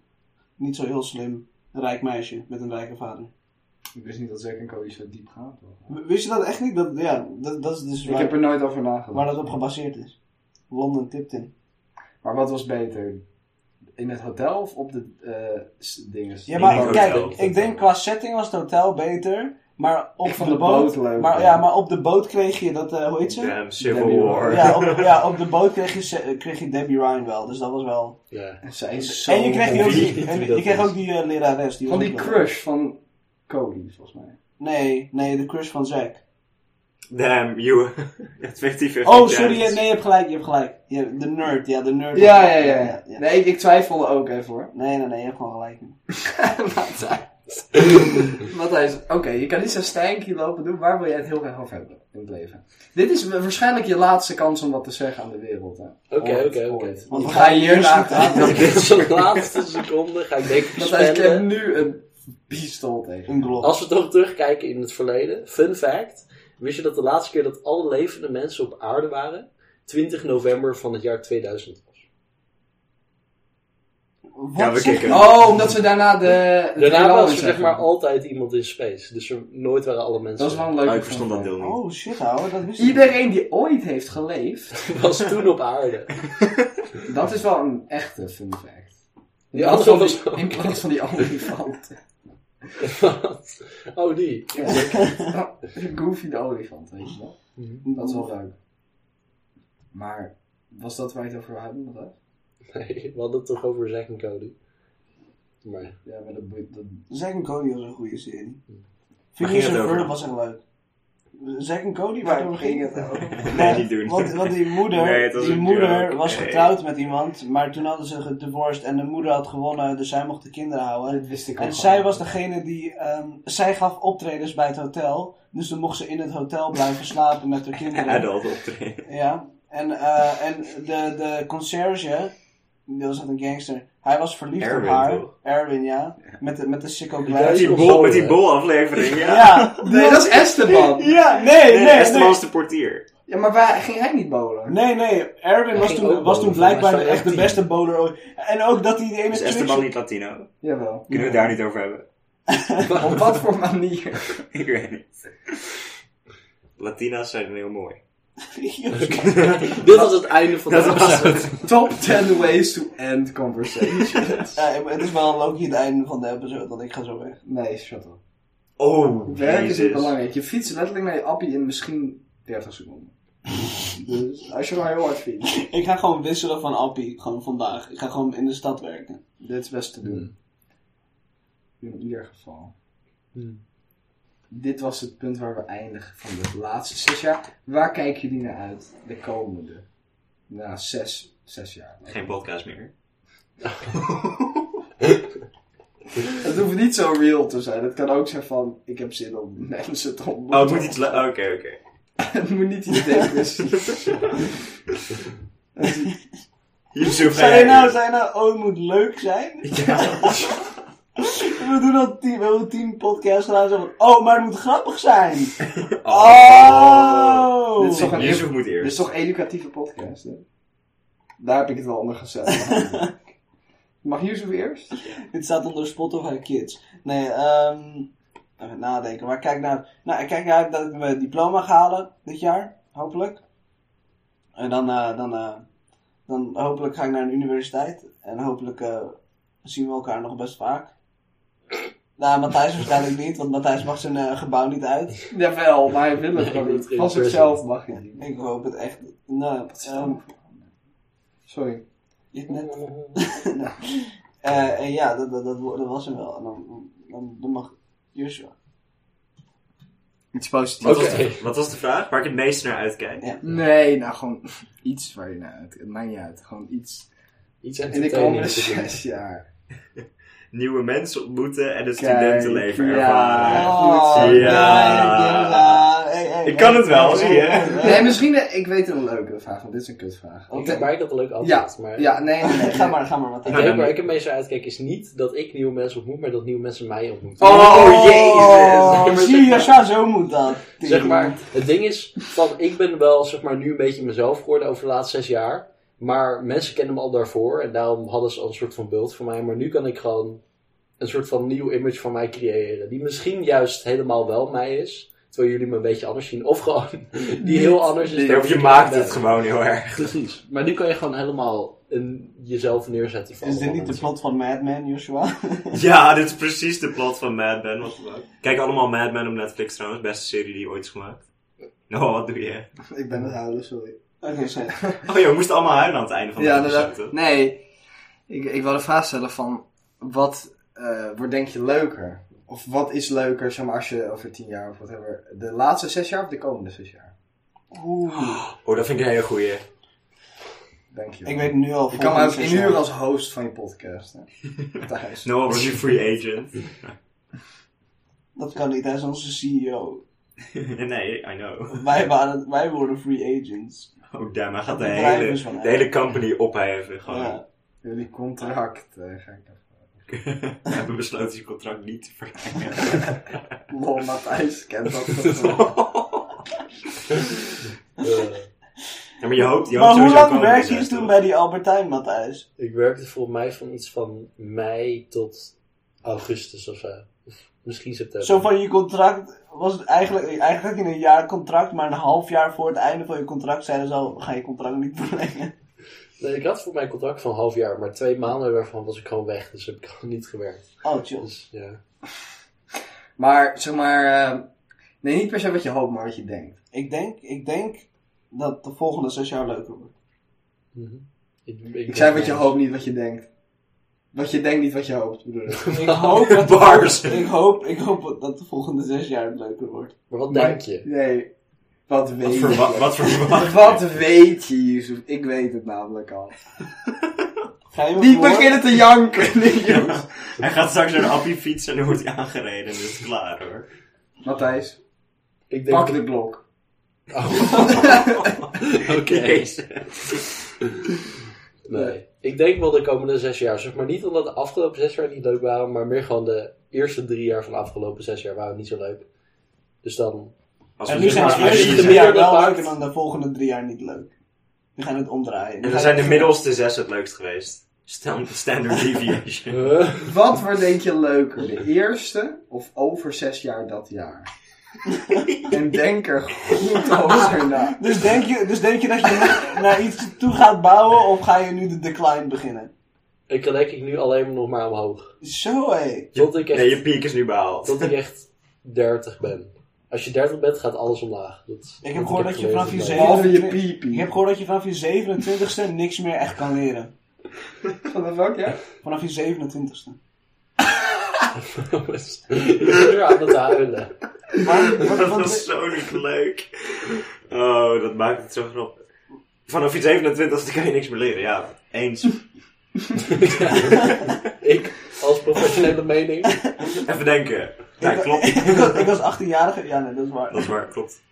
S5: niet zo heel slim rijk meisje met een rijke vader.
S2: Ik wist niet dat Zack en Cody zo diep gaat.
S5: W- Wist je dat echt niet? Dat, ja, dat, dat is dus
S2: Ik heb
S5: waar,
S2: er nooit over nagedacht.
S5: waar
S2: Maar,
S5: dat op gebaseerd is. London Tipton.
S2: wat was beter? In het hotel of op de eh s- dingen?
S5: Ja,
S4: Ik
S5: maar
S4: denk
S5: kijk,
S4: hotel.
S5: ik denk qua setting was het hotel beter. Maar op
S2: Ik
S5: de,
S2: vond de
S5: boot,
S2: boot leuk,
S5: maar,
S2: ja.
S5: ja, maar op de boot kreeg je dat, eh, hoe heet ze?
S4: Damn, Civil
S2: Debbie
S4: War.
S5: Ja, op, ja, op de boot kreeg je, se- kreeg je Debbie Ryan wel, dus dat was wel...
S3: Ja.
S2: En zij is zo
S5: en je kreeg, die ook
S2: mooi.
S5: die,
S3: wie
S5: en
S3: dat
S5: je kreeg
S3: is.
S5: ook die eh, lerares. Die
S2: Van
S5: was
S2: die
S5: ook wel-
S2: crush van Cody, volgens mij.
S5: Nee, nee, de crush van Zack.
S4: Damn, you. Het 50-50
S5: Oh, sorry,
S4: chance.
S5: je- nee, je hebt gelijk, je hebt gelijk. Je- de nerd, ja, de nerd.
S2: Ja, ja, ja. ja.
S5: ja.
S2: Nee, ik, ik twijfelde ook even hoor.
S5: Nee, nee, nee, je hebt gewoon gelijk.
S2: Wat hij- Wat hij is. Oké, je kan niet zo'n stijnkie lopen doen. Waar wil jij het heel graag over hebben in het leven? Dit is wa- waarschijnlijk je laatste kans om wat te zeggen aan de wereld. hè.
S3: Oké,
S2: Ooit,
S3: oké, oké.
S2: ooit.
S5: Want we
S2: Ik
S5: gaan
S2: ga hier
S5: hier
S2: naar
S3: Dit is de laatste seconde, ga ik denk ik
S2: Want hij krijgt
S3: spellen.
S2: nu een pistool tegen.
S5: Een blok.
S3: Als we toch terugkijken in het verleden, fun fact: wist je dat de laatste keer dat alle levende mensen op aarde waren 20 november van het jaar 2000 was?
S5: Wat
S4: Ja, we
S5: zeg
S4: kicken.
S5: je?
S2: Oh, omdat ze daarna de. de
S3: Daarna
S2: heelal
S3: was
S2: in
S3: er zeg
S2: zagen.
S3: maar altijd iemand in space, dus er nooit waren alle mensen.
S2: Dat is wel een
S4: Oh,
S2: leuke
S4: ik verstond dat
S2: vraag.
S4: deel niet.
S5: Oh, shit, ouwe, dat wist ik niet.
S2: Iedereen die ooit heeft geleefd,
S3: was toen op aarde.
S2: dat is wel een echte fun fact.
S3: Die
S2: In
S3: andere
S2: plaats
S3: was
S2: van die- in plaats van die olifanten.
S3: Oh, die.
S2: Ja. Goofy de olifant, weet je wel. Dat is wel leuk. Maar was dat waar je het over hadden? nog hè?
S3: Nee, we hadden het toch over Zack en Cody. Maar
S2: Ja, maar dat boeit. Dat...
S5: Zack en Cody was een goede serie.
S4: Waar ging
S5: Phineas en
S4: het over?
S5: Ferb was echt leuk. Zack en Cody,
S2: Waar
S5: waardoor
S2: ging
S5: ging
S2: het over?
S4: Nee, niet doen.
S5: Want, want die moeder,
S4: Nee, het was
S5: die
S4: een
S5: moeder
S4: joke.
S5: was
S4: Nee.
S5: getrouwd met iemand, maar toen hadden ze gedivorced en de moeder had gewonnen, dus zij mocht de kinderen houden.
S2: Dat wist ik ook
S5: En
S2: al.
S5: zij was degene die, ehm, zij gaf optredens bij het hotel, dus dan mocht ze in het hotel blijven slapen met haar kinderen.
S4: Adult optreden.
S5: Ja, en, eh, en de, de concierge, dat was net een gangster, hij was verliefd
S4: Erwin,
S5: op haar.
S4: toch?
S5: Erwin, ja. Met de, met de sicko
S4: Met
S5: glass.
S4: die
S3: Of
S4: bol,
S3: zo,
S4: met die
S3: hè?
S4: bol aflevering, ja.
S5: Ja,
S2: Nee, dat is Esteban.
S5: ja, nee,
S4: Nee,
S5: nee,
S4: Esteban
S5: nee.
S4: was de portier.
S2: Ja, maar waar ging hij niet bowlen?
S5: Nee, nee, Erwin
S3: Hij
S5: was
S3: ging
S5: toen,
S3: ook
S5: was toen
S3: bowlen, maar
S5: blijkbaar
S3: hij
S5: de,
S3: was
S5: echt de
S3: 18.
S5: beste bowler ooit. En ook dat hij de ene
S4: Is
S5: trucje-
S4: Esteban Dus niet Latino?
S2: Jawel.
S4: Kunnen we het daar niet over hebben?
S2: Op wat voor manier?
S4: Ik weet niet. Latina's zijn heel mooi.
S3: Dit was het einde van de
S4: Dat was
S3: episode.
S4: het.
S2: Top 10 ways to end conversations.
S5: Ja, maar het is wel Loki het einde van de episode, want ik ga zo weg.
S2: nee, shut up.
S4: Oh,
S2: Werk is niet
S4: jezus.
S2: belangrijk. Je fietst letterlijk naar je appie in misschien 30 seconden. Dus als je maar heel hard fietst.
S5: Ik ga gewoon wisselen van Appie, gewoon vandaag. Ik ga gewoon in de stad werken.
S2: Dit is best te doen. In ieder geval.
S3: Hmm.
S2: Dit was het punt waar we eindigen van de laatste zes jaar. Waar kijken jullie naar uit de komende? Na zes, zes jaar.
S4: Geen podcast meer.
S2: Het hoeft niet zo real te zijn. Het kan ook zijn van, ik heb zin om mensen te ontmoeten.
S4: Oh, het moet iets... le- Oké, oké.
S2: het moet niet iets depressiefs.
S4: Yusuf, ga
S5: Zei
S4: jij
S5: je nou,
S4: eerst.
S5: zei je nou, oh, het moet leuk zijn?
S2: Oh.
S5: We doen al tien, we hebben tien podcasts gedaan. Zo van, oh, maar het moet grappig zijn. Oh!
S2: Dit is toch een-
S4: Yusuf moet
S2: Dit is
S4: eerst.
S2: toch een educatieve podcast, hè? Daar heb ik het wel onder gezet. Mag Yusuf eerst?
S5: Dit staat onder Spotify Kids. Nee, ehm even nadenken. Maar kijk naar, nou, ik kijk naar uit dat ik mijn diploma ga halen dit jaar, hopelijk. En dan, eh, dan, eh, dan hopelijk ga ik naar een universiteit. En hopelijk eh, zien we elkaar nog best vaak. Nou, Matthijs waarschijnlijk niet, want Matthijs mag zijn eh, gebouw niet uit.
S2: Jawel, maar hij wil het
S3: Nee,
S2: gewoon
S3: niet
S2: niet.
S3: in
S2: Van
S3: person.
S2: zichzelf mag je niet.
S5: Ik hoop het echt. Nou, ehm,
S2: Sorry.
S5: je hebt net Eh, en ja, dat, dat, dat, dat was hem wel. En dan, dan, dan mag Joshua.
S2: Iets positiefs.
S4: Wat, was
S3: Oké.
S4: de, wat was de vraag? Waar ik het meest naar uitkijk?
S5: Ja.
S2: Nee, nou gewoon iets waar je naar uit. Het maakt niet uit. Gewoon iets.
S3: Iets
S2: In de komende zes jaar.
S4: Nieuwe mensen ontmoeten en het
S2: Kijk,
S4: studentenleven
S2: ja.
S4: ervaren.
S5: Oh,
S4: goed.
S5: kijk,
S4: Ja.
S5: ja. Hey, hey,
S4: Ik kan het wel,
S5: hey,
S4: zie
S5: hey,
S4: je.
S5: hey, hey.
S2: Nee, misschien. de- ik weet een leuke vraag, want dit is een kutvraag.
S3: Ik heb mij dat een leuk
S2: Ja,
S3: antwoord. maar
S2: ja, nee, nee, nee.
S5: Ga maar, ga maar, wat.
S3: Ik
S4: Nou,
S3: denk
S4: dan-
S3: waar ik het meest naar uitkijk is niet dat ik nieuwe mensen ontmoet, maar dat nieuwe mensen mij ontmoeten.
S4: Oh,
S5: Oh,
S4: jezus.
S5: Zie je, Joshua, zo moet dat.
S3: Zeg maar, het ding is, van, ik ben wel zeg maar, nu een beetje mezelf geworden over de laatste zes jaar. Maar mensen kennen me al daarvoor en daarom hadden ze al een soort van beeld van mij. Maar nu kan ik gewoon een soort van nieuw image van mij creëren. Die misschien juist helemaal wel mij is. Terwijl jullie me een beetje anders zien. Of gewoon die heel anders is. dan
S4: Of Dus je
S3: ik
S4: maakt
S3: ben.
S4: het gewoon heel erg.
S3: Precies. Maar nu kan je gewoon helemaal een, jezelf neerzetten. Van oh,
S5: Is dit niet de
S3: de
S5: plot van Mad Men, Joshua?
S4: Ja, dit is precies de plot van Mad Men. Wat dan ook. Kijk allemaal Mad Men op Netflix trouwens. Beste serie die ooit is gemaakt. Nou, wat doe je?
S2: Ik ben het huilen, sorry.
S5: Oké, zeg.
S4: Oh joh, we moesten allemaal huilen aan het einde van de
S2: Ja,
S4: episode,
S2: inderdaad.
S4: toch?
S2: Nee, ik, ik wil de vraag stellen van, wat eh, wordt denk je leuker? Of wat is leuker, zeg maar, als je over tien jaar of whatever, de laatste zes jaar of de komende zes jaar?
S5: Oeh.
S4: Oh, dat vind ik een hele goeie.
S2: Dank je wel.
S5: Ik weet nu al.
S2: je kan me ook
S5: volgende
S2: inhuren
S5: seizoen.
S2: als host van je podcast, hè? Thuis.
S4: Noah was je free agent.
S5: Dat kan niet, hij is onze CEO.
S4: nee, I know.
S5: Wij, waren, wij worden free agents.
S4: Oh damn, hij gaat de
S5: De bedrijf
S4: hele,
S5: is van hem.
S4: de hele company opheffen. Gewoon.
S5: Ja.
S2: Jullie contract, eh, ga ik even.
S4: We hebben besloten zijn contract niet te verlengen.
S2: Lol, Matthijs kent dat toch wel.
S3: eh,
S4: Ja, maar je hoopt, je
S5: Maar
S4: hoopt
S5: hoe
S4: sowieso
S5: lang
S4: komen,
S5: werkte
S4: dus,
S5: je toen
S4: toch?
S5: bij die Albertijn, Matthijs?
S3: Ik werkte volgens mij van iets van mei tot augustus of zo. Of misschien september.
S5: Zo van je contract was het eigenlijk, eigenlijk in een jaar contract, maar een half jaar voor het einde van je contract zeiden ze al, we gaan je contract niet verlengen.
S3: Nee, ik had voor mijn contract van een half jaar, maar twee maanden daarvan was ik gewoon weg. Dus heb ik gewoon niet gewerkt.
S5: Oh, chill.
S3: Dus ja.
S2: Maar, zeg maar, eh, nee, niet per se wat je hoopt, maar wat je denkt.
S5: Ik denk, ik denk dat de volgende zes jaar leuker wordt.
S3: Mhm. Ik,
S2: Ik zei wat je hoopt, niet wat je denkt. Wat je denkt, niet wat je hoopt. bedoel ik.
S5: Ik hoop dat
S4: Bars.
S5: Ik hoop, ik hoop dat de volgende zes jaar het leuker wordt.
S3: Maar wat
S2: Maar-
S3: denk je?
S2: Nee. Wat
S4: Wat
S2: weet
S4: verwacht,
S2: je?
S4: wat verwacht
S2: Wat
S4: je?
S2: weet je, Yusuf? Ik weet het namelijk al.
S5: Ga je me
S2: Die
S5: voor?
S2: beginnen te janken, die jongens.
S4: Hij gaat straks naar de appie fietsen en dan wordt hij aangereden. Dat is klaar hoor.
S2: Matthijs,
S3: Ik denk...
S2: pak de blok.
S3: Oké.
S4: Jezus.
S3: Nee. Ik denk wel de komende zes jaar. Zeg maar niet omdat de afgelopen zes jaar niet leuk waren, maar meer gewoon de eerste drie jaar van de afgelopen zes jaar waren niet zo leuk. Dus dan.
S4: Als
S5: En
S4: we
S5: nu
S4: zeg
S5: zijn
S4: maar-
S5: de
S3: als je
S5: eerste
S3: de
S5: drie jaar
S3: gemiddelde
S5: wel
S3: pakt-
S5: leuk en dan de volgende drie jaar niet leuk. We gaan het omdraaien.
S4: En dan zijn de middelste zes het leukst geweest. Stand- Standard deviation.
S3: Huh?
S2: Wat wordt denk je leuker? De eerste of over zes jaar dat jaar? en denk er goed over na.
S5: Dus denk, je, dus denk je dat je naar iets toe gaat bouwen of ga je nu de decline beginnen?
S3: Ik kan denk ik nu alleen maar nog maar omhoog.
S5: Zo hé.
S3: Tot ik echt,
S4: Nee, je piek is nu behaald.
S3: tot ik echt 30 ben. Als je 30 bent, gaat alles omlaag. Dat, dat
S5: heb gehoord dat je
S3: gelezen
S5: vanaf je
S3: bij-
S5: zeven-
S2: Behalve je piepie.
S5: Ik heb gehoord dat je vanaf je 27ste niks meer echt kan leren.
S2: Vanaf welk jaar?
S5: Vanaf je 27ste.
S3: Ik ben weer aan het huilen.
S5: Maar, wat,
S4: Dat
S5: wat-
S4: was zo niet leuk. Oh, dat maakt het zo grappig. Vanaf je 27 kan je niks meer leren, ja. Eens.
S3: Ik, als professionele mening.
S4: Even denken. Ja, klopt.
S5: ik, was, ik was 18-jarige. Ja, nee, dat is waar.
S4: Dat is waar, klopt.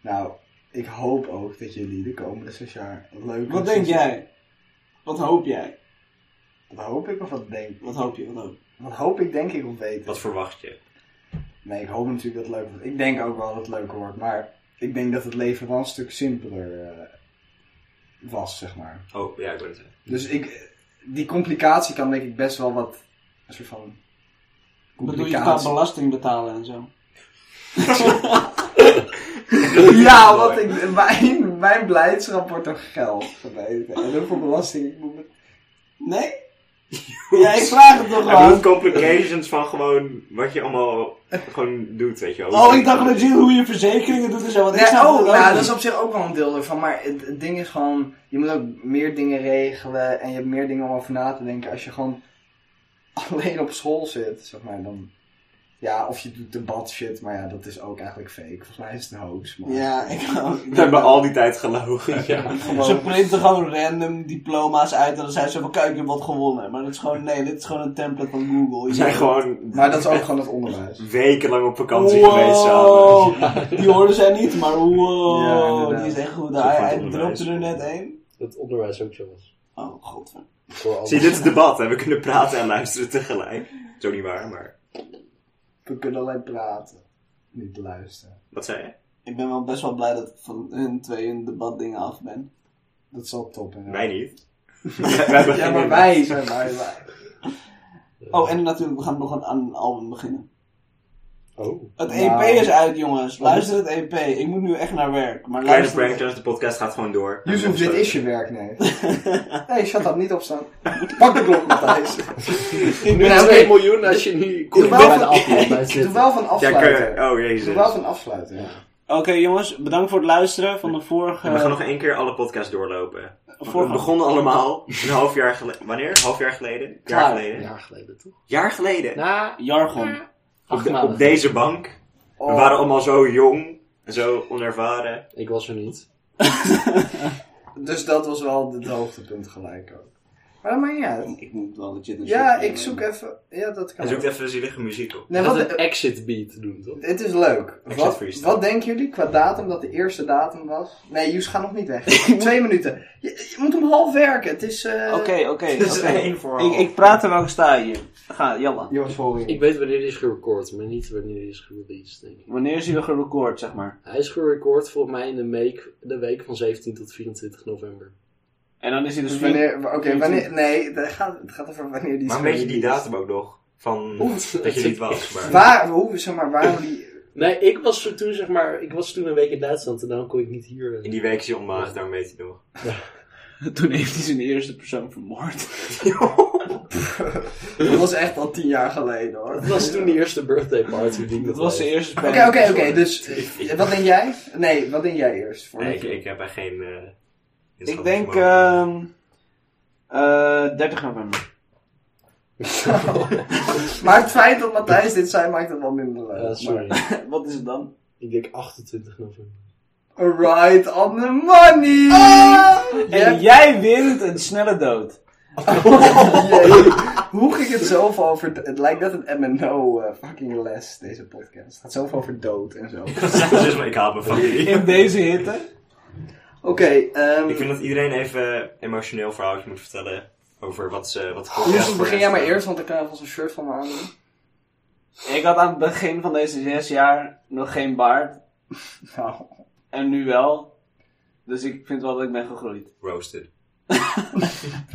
S2: Nou, ik hoop ook dat jullie de komende zes jaar leuk
S5: Wat denk jij? Wat hoop jij?
S2: Wat hoop ik of wat denk ik?
S5: Wat hoop je? Wat hoop je?
S2: Wat hoop ik denk ik of weet ik?
S4: Wat verwacht je?
S2: Nee, ik hoop natuurlijk dat het leuk wordt. Ik denk ook wel dat het leuk wordt, maar ik denk dat het leven wel een stuk simpeler eh, was, zeg maar.
S4: Oh, ja, ik weet het zeggen.
S2: Dus ik, die complicatie kan denk ik best wel wat, een soort van
S5: Bedoel je qua
S2: complicatie.
S5: belasting betalen en zo?
S2: Ja, want ik, mijn, mijn blijdschap wordt door geld gebeten. En hoeveel belasting ik moet betalen.
S5: Nee? Ja, ik vraag het toch
S4: En hoe
S5: wel.
S4: complications van gewoon wat je allemaal gewoon doet, weet je wel.
S5: Oh, ik dacht legit hoe je verzekeringen doet en zo. Want ik
S2: Nee,
S5: snap
S2: oh,
S5: het ook
S2: nou,
S5: niet.
S2: dat is op zich ook wel een deel ervan. Maar het, het ding is gewoon, je moet ook meer dingen regelen. En je hebt meer dingen om over na te denken. Als je gewoon alleen op school zit, zeg maar, dan... Ja, of je doet debat shit, maar ja, dat is ook eigenlijk fake. Volgens mij is het een hoax, maar...
S5: Ja, ik ook.
S4: We hebben al die tijd gelogen.
S3: Ja.
S5: Ze
S2: Gewoon,
S5: printen gewoon random diploma's uit en dan zijn ze van kijk, ik heb wat gewonnen. Maar dat is gewoon, nee, dit is gewoon een template van Google.
S4: We zijn gewoon
S2: maar dat is ook gewoon het onderwijs.
S4: wekenlang op vakantie geweest samen.
S5: wow, die hoorden zij niet, maar wow,
S2: Ja, inderdaad.
S5: die is echt goed.
S4: Zo
S5: Hij,
S4: van
S5: hij
S4: het
S5: dropte er
S4: onderwijs.
S5: net één.
S3: Het onderwijs ook zo was.
S5: Oh, god.
S3: Voor alles.
S4: Zie, je, dit is debat en we kunnen praten en luisteren tegelijk. Zo niet waar, maar
S2: We kunnen alleen praten, niet luisteren.
S4: wat zei je?
S5: Ik ben wel best wel blij dat ik van hun twee hun debatdingen af ben.
S2: Dat is al top, inderdaad.
S4: Wij niet. wij hebben
S2: Ja,
S4: geen-
S2: maar wij zijn wij, wij.
S5: Oh, en natuurlijk, we gaan nog een, aan een album beginnen.
S3: Oh.
S5: Het EP
S2: Nou.
S5: is uit, jongens. Luister het EP. Ik moet nu echt naar werk. Maar
S4: Kleine
S5: luister het-
S4: prankers, de podcast gaat gewoon door.
S2: Yusuf, dit is je werk, nee. Nee, shut up, niet opstaan. Pak de blok, Matthijs.
S5: Ik
S3: Nu
S5: ben nou
S3: is 2
S5: twee-
S3: miljoen als je nu
S2: Doe
S3: komt
S2: wel
S3: bij de
S2: van-
S3: afval bij
S2: Doe
S3: zitten.
S2: wel van
S4: Ja, kun je-
S2: afsluiten.
S4: oh
S2: Doe
S4: jezus.
S2: wel van afsluiten, ja.
S5: Oké, jongens. Bedankt voor het luisteren van de vorige...
S4: En we gaan nog één keer alle podcasts doorlopen.
S5: vorige-
S4: We begonnen allemaal een half jaar geleden. Wanneer? Half jaar geleden? Jaar
S5: Klaar.
S4: geleden?
S3: Een jaar geleden toch?
S4: Jaar geleden?
S3: Na
S5: Jargon.
S3: acht
S4: op
S3: maanden.
S4: deze bank. We
S2: Oh.
S4: waren allemaal zo jong en zo onervaren.
S3: Ik was er niet.
S2: Dus dat was wel het hoogtepunt gelijk ook. Maar dat maakt niet uit.
S5: Ik moet wel legit een
S2: Ja,
S5: zoekje
S2: ik zoek
S5: doen.
S2: even... Ja, dat
S4: En
S2: kan
S4: zoekt
S2: ook.
S4: even zielige muziek op.
S2: Nee,
S3: Wat
S2: wat,
S3: een exit beat doen toch?
S2: het is leuk.
S4: zet
S2: Wat,
S4: freestyle.
S2: wat denken jullie qua datum dat de eerste datum was? Nee, Jus, ga nog niet weg. Twee minuten. Je, je moet om half werken. Het is... eh,
S5: Oké, oké.
S4: Dit is
S5: oké.
S4: één voor
S5: Ik, ik praat er wel sta hier. Ga, Jalla.
S2: Jongens, sorry.
S3: Ik weet wanneer die is gerecord, maar niet wanneer die is gereleased, denk ik.
S5: Wanneer is hij gerecord, zeg maar?
S3: Hij is gerecord volgens mij in de, make, de week van 17 tot 24 november.
S5: En dan is hij dus...
S2: Dus wanneer... Oké,
S5: Vindt-
S2: wanneer... Nee, het gaat, het gaat over wanneer die...
S4: Maar een
S2: is
S4: beetje die
S2: gereleased.
S4: datum ook nog. Van
S3: Oeh.
S4: dat je niet was. Maar...
S2: Waar, hoe, zeg maar, waarom die...
S3: Nee, ik was er toen zeg maar, ik was toen een week in Duitsland en daarom kon ik niet hier. eh.
S4: In die week is je onmaag, daarom weet je het nog.
S5: Toen heeft hij zijn eerste persoon vermoord.
S2: Dat was echt al tien jaar geleden, hoor.
S3: Dat was toen de eerste birthday party die ik
S5: Dat
S3: had.
S5: was de eerste
S2: Oké, oké, oké. Dus eh, wat denk jij? Nee, wat denk jij eerst? Voor
S4: Nee, ik, ik heb er geen... eh,
S5: Ik
S2: ehm,
S5: denk...
S4: inschattingen.
S5: ehm eh 30 november.
S2: Maar het feit dat Matthijs dit zei maakt het wel minder leuk.
S3: Ja, Eh, sorry.
S2: Maar wat is het dan?
S3: Ik denk 28 november.
S2: Right on the money! Ah!
S5: En
S2: Yep.
S5: jij wint een snelle dood.
S2: Jee. Hoe ging het zoveel over... Het lijkt net een MNO eh, fucking les, deze podcast. Het gaat zoveel over dood en zo. Oké,
S4: dus maar ik haal me van die.
S5: In deze hitte.
S2: ehm,
S4: Ik vind dat iedereen even emotioneel verhaaltje moet vertellen over wat ze... Wat
S2: Justus, Oh, begin jij maar eerst, want ik kan alvast een shirt van me aandoen.
S5: Ik had aan het begin van deze zes jaar nog geen baard.
S2: Nou,
S5: En nu wel. Dus ik vind wel dat ik ben gegroeid.
S4: Roasted.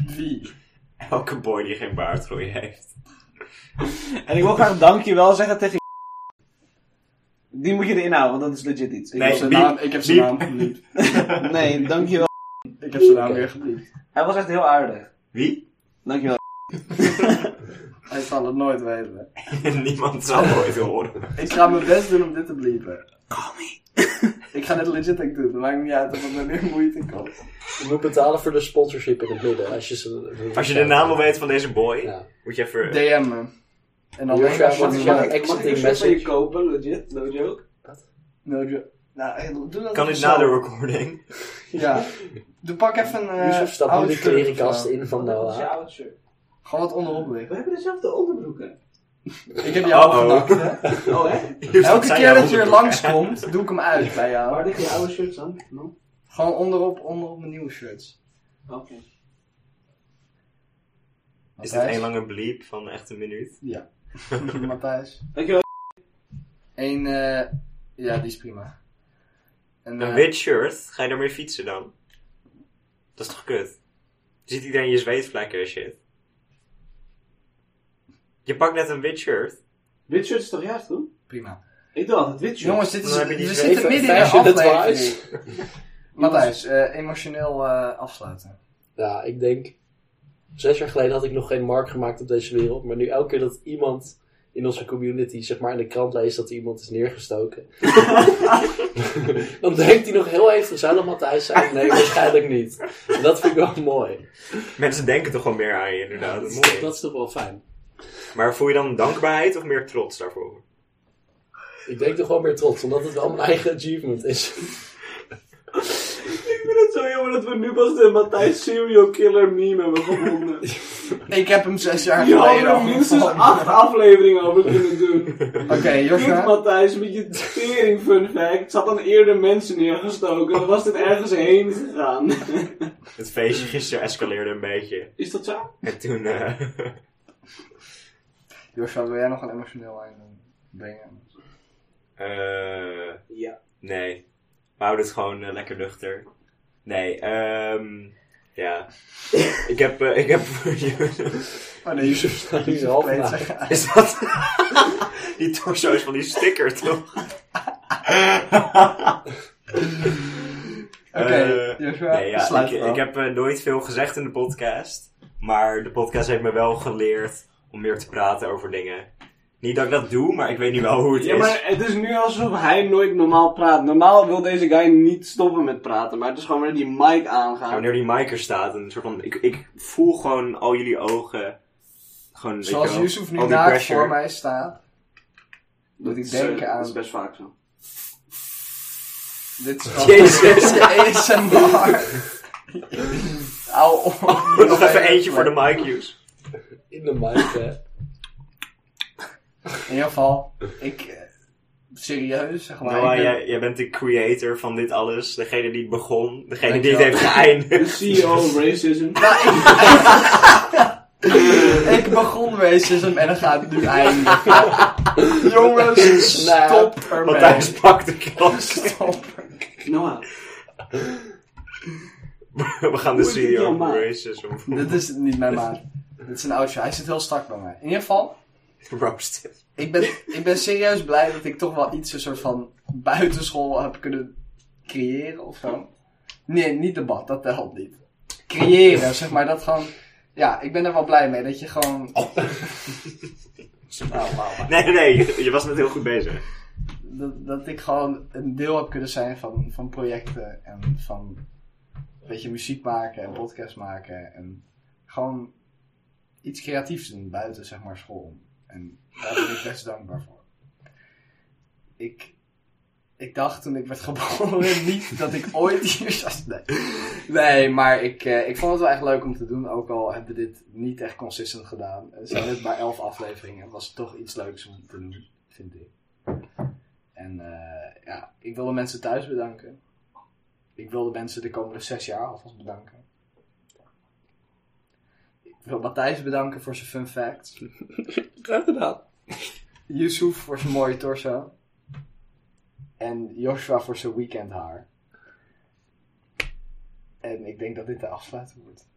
S2: wie?
S4: Elke boy die geen baardgroei heeft.
S5: En ik wil graag dankjewel zeggen tegen Die moet je erin houden, want dat is legit iets.
S2: Ik
S4: Nee,
S2: heb zijn
S4: Biep.
S2: naam, ik heb zijn naam
S4: Biep.
S2: gebliept.
S5: Nee, dankjewel.
S2: Ik heb zijn naam weer gebliept.
S5: Hij was echt heel aardig.
S4: Wie?
S5: Dankjewel.
S2: Hij zal het nooit weten.
S4: Niemand zal ooit horen.
S2: Ik ga mijn best doen om dit te bliepen. Call me. Ik ga dit legit ook doen. Het maakt niet uit of het me meer moeite kost.
S3: Je moet betalen voor de sponsorship in het midden. Als je, ze,
S4: Als je de naam wil weten van deze boy,
S3: Ja.
S4: moet je even...
S2: DM me. En dan
S3: Joshua,
S2: denk ik als
S3: wat
S2: je
S3: is
S2: maar
S3: jouw ex-
S5: Mag ik een
S3: Message.
S5: shirt van je kopen, legit? No joke.
S2: No joke. Nou, eh, doe dat
S4: Kan
S2: even
S4: dit
S2: zo.
S4: na de recording?
S2: Ja. Doe pak even een.
S3: Yusuf
S2: eh
S3: stapt nu
S2: oud
S3: de
S2: shirt of
S3: klerenkast
S2: zo.
S3: in van
S5: Dat is je
S3: Noah.
S5: oude shirt.
S2: Gewoon wat onderop
S5: We
S2: liggen.
S5: hebben dezelfde onderbroeken.
S2: Ik heb jou
S4: Uh-oh.
S2: opgedakt, hè?
S5: Oh, hè?
S2: Elke keer dat je weer langskomt, doe ik hem uit bij
S5: Waar
S2: jou.
S5: liggen je oude shirts dan? No?
S2: Gewoon onderop, onderop mijn nieuwe shirts.
S5: Oké.
S4: Is dit één lange bleep van echt een minuut?
S2: Ja. Matthijs.
S5: Dankjewel.
S2: Eén, eh, ja, die is prima. En,
S4: Een
S2: eh,
S4: wit shirt? Ga je daarmee fietsen dan? Dat is toch kut? Ziet iedereen je zweetvlekken en shit? Je pakt net een wit shirt.
S5: Wit shirt is toch juist, hoor?
S2: Prima.
S5: Ik dacht het wit shirt.
S2: Jongens, dit is,
S4: Dan heb je die
S2: we
S4: twee
S2: zitten
S3: Even
S2: midden in
S3: fashion
S2: de
S3: advice.
S2: aflevering. Matthijs, eh, emotioneel eh, afsluiten.
S3: Ja, ik denk... Zes jaar geleden had ik nog geen mark gemaakt op deze wereld. Maar nu elke keer dat iemand in onze community, zeg maar in de krant leest dat er iemand is neergestoken. dan denkt hij nog heel even, zou dat Matthijs zijn? Nee, waarschijnlijk niet. En dat vind ik wel mooi.
S4: Mensen denken toch wel meer aan je inderdaad. Dat is mooi.
S3: Dat is toch wel fijn.
S4: Maar voel je dan dankbaarheid of meer trots daarvoor?
S3: Ik denk toch wel meer trots, omdat het wel mijn eigen achievement is.
S5: Ik vind het zo jammer dat we nu pas de Matthijs serial killer meme hebben gevonden.
S2: Ik heb hem zes jaar
S5: Je had
S2: geleden
S5: er
S2: al
S5: minstens
S2: gevonden.
S5: acht afleveringen over kunnen doen.
S2: Oké,
S5: Kut
S2: Joshua.
S5: Matthijs, met je tering fun fact. Zat dan eerder mensen neergestoken, dan was dit ergens heen gegaan.
S4: Het feestje gisteren escaleerde een beetje.
S5: Is dat zo?
S4: En toen... eh,
S2: Joshua, wil jij nog een emotioneel einde brengen?
S4: eh,
S5: Ja.
S4: nee. We houden het gewoon eh, lekker nuchter. Nee, ehm... Ja. ik heb... eh, ik heb voor je...
S2: Oh nee, Joshua
S3: staat nu half
S2: Ik weet het
S3: na.
S2: zeggen.
S4: Is dat... die torso is van die sticker, toch?
S2: Oké, dus
S4: Eh,
S2: Joshua,
S4: nee, ja,
S2: sluit
S4: ik,
S2: wel.
S4: ik heb eh, nooit veel gezegd in de podcast. Maar de podcast heeft me wel geleerd om meer te praten over dingen. Niet dat ik dat doe, maar ik weet nu wel hoe het
S5: Ja,
S4: is.
S5: maar het is nu alsof hij nooit normaal praat. Normaal wil deze guy niet stoppen met praten, maar het is gewoon weer die mic
S4: Ja,
S5: aangaan.
S4: wanneer die mic er staat, een soort van... Ik, ik voel gewoon al jullie ogen... Gewoon,
S2: Zoals
S4: weet je wel,
S2: Yusuf nu
S4: al die
S2: naakt
S4: pressure.
S2: voor mij staat. Moet ik
S5: is, eh,
S2: denken aan...
S5: Dat is best vaak zo.
S2: Dit is gewoon...
S4: Jezus.
S2: ASMR. Au, op.
S4: Nog even eentje voor de mic use.
S3: In de mic, hè.
S2: In ieder geval, ik... eh, Serieus, zeg maar. ik
S4: Noah,
S2: ben-
S4: Nou, eh, jij, jij bent de creator van dit alles. Degene die het begon. Degene die het
S2: Dankjewel.
S4: heeft geëindigd.
S5: De CEO of racism.
S2: Ik begon racism en dan gaat het nu eindigen. Jongens,
S3: Nou,
S2: stop ermee.
S4: Matthijs pakt de klas.
S2: Stop.
S5: Noah.
S4: We gaan de
S5: Hoe is dit jouw
S4: CEO
S5: maat?
S4: over racism
S2: Dit is niet mijn maat. Dit is een oudje. Hij zit heel strak bij mij. In ieder geval,
S4: roasten.
S2: ik ben, ik ben serieus blij dat ik toch wel iets een soort van buitenschool heb kunnen creëren of zo. Nee, niet debat, dat helpt niet. Creëren, zeg maar, dat gewoon... Ja, ik ben er wel blij mee, dat je gewoon... Nou, wauw.
S4: Nee, nee, nee, je, je was net heel goed bezig.
S2: dat, dat ik gewoon een deel heb kunnen zijn van, van projecten en van weet je, muziek maken en podcast maken en gewoon iets creatiefs doen buiten zeg maar school. En daar ben ik best dankbaar voor. Ik, ik dacht toen ik werd geboren niet dat ik ooit hier zou zijn. Nee, maar ik, eh, ik vond het wel echt leuk om te doen. Ook al hebben we dit niet echt consistent gedaan. Er zijn dit maar elf afleveringen. Was het toch iets leuks om te doen, vind ik. En eh, ja, ik wil de mensen thuis bedanken. Ik wil de mensen de komende zes jaar alvast bedanken. Ik wil Matthijs bedanken voor zijn fun facts.
S3: Graag gedaan.
S2: Yusuf voor zijn mooie torso. En Joshua voor zijn weekend haar. En ik denk dat dit de afsluiting wordt.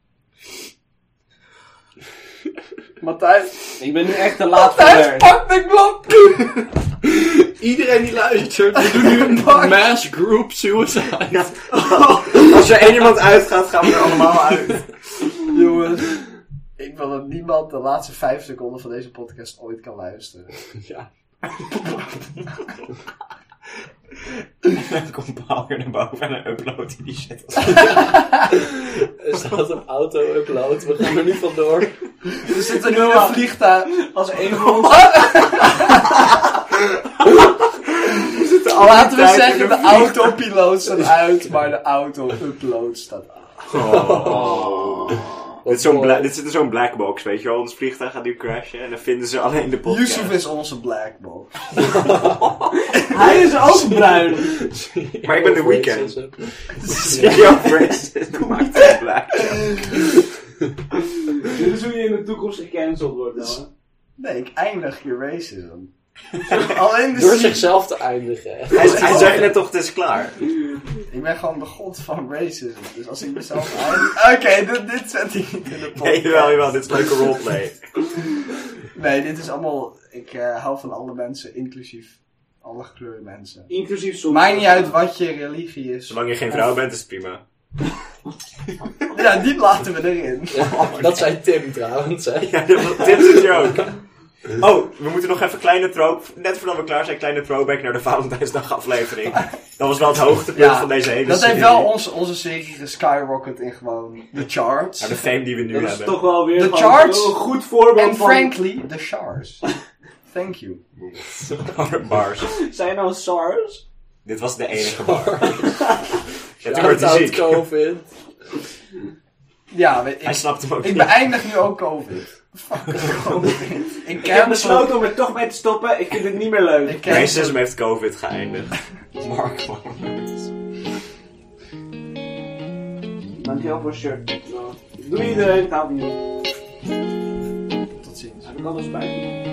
S2: Matthijs,
S5: Ik ben nu echt te laat voor
S2: Matthijs,
S5: werk.
S2: pak de klok!
S3: Iedereen die luistert, we doen nu een mass group suicide.
S4: Als er één iemand uitgaat, gaan we er allemaal uit.
S2: Jongens, ik wil dat niemand de laatste vijf seconden van deze podcast ooit kan luisteren.
S3: Ja.
S4: Dan komt Paul weer naar boven en dan uploadt hij die shit.
S3: Er staat een auto-upload, we gaan er nu vandoor.
S2: Er zit er nu een vliegtuig.
S5: Als één van ons
S2: Oh, Laten we zeggen, de autopiloot staat uit, maar de auto-upload staat uit.
S4: Dit, is zo'n bla- dit zit in zo'n black box, weet je wel. Ons vliegtuig gaat nu crashen en dan vinden ze alleen de podcast.
S2: Yusuf is onze black box.
S5: Hij is ook bruin.
S4: Maar ik ben de weekend. Video racist maakt het black.
S5: Dit is hoe je in de toekomst gecanceld wordt, nou.
S2: Nee, ik eindig je racism. Alleen de
S3: Door
S2: ziel-
S3: zichzelf te eindigen.
S4: Hij, hij zei net toch, het is klaar.
S2: Ik ben gewoon de god van racism. Dus als ik mezelf eindig... Oké, dit, dit zet hij niet in de podcast.
S4: Nee, jawel, jawel, dit is leuke roleplay.
S2: Nee, dit is allemaal... Ik eh, hou van alle mensen, inclusief alle gekleurde mensen.
S5: Inclusief soms.
S2: Maakt niet uit wat je religie is.
S4: Zolang je geen vrouw bent, is het prima.
S2: Ja, die laten we erin.
S3: Dat zei Tim trouwens, hè.
S4: Ja, dit is het joke. Oh, we moeten nog even kleine troop. Net voordat we klaar zijn, kleine throwback naar de Valentijnsdag aflevering. Dat was wel het hoogtepunt
S2: Ja,
S4: van deze hele
S2: Dat
S4: serie.
S2: heeft wel onze, onze serie geskyrocket in gewoon de
S4: Ja,
S2: charts.
S4: de fame die we nu
S5: Dat is
S4: hebben.
S5: toch wel weer
S2: De
S5: gewoon
S2: charts.
S5: een goed voorbeeld
S2: En
S5: van...
S2: frankly, de charts. Thank you.
S4: Bars.
S5: Zijn nou SARS?
S4: Dit was de enige bar. Ja, toen werd hij
S3: Shout-out
S4: ziek.
S3: COVID.
S2: Ja, weet-
S4: Hij
S2: ik,
S4: snapt hem ook
S2: ik
S4: niet.
S2: beëindig nu ook COVID. Fuck COVID. Ik
S5: Ik heb
S2: cancel.
S5: besloten om er toch mee te stoppen. Ik vind het niet meer leuk.
S2: Ik cancel.
S4: Racism heeft COVID geëindigd. Mark Lawrence.
S5: Dankjewel voor het shirt. Doei iedereen, het haalt niet.
S2: Tot ziens.
S5: Heb ik alles bij?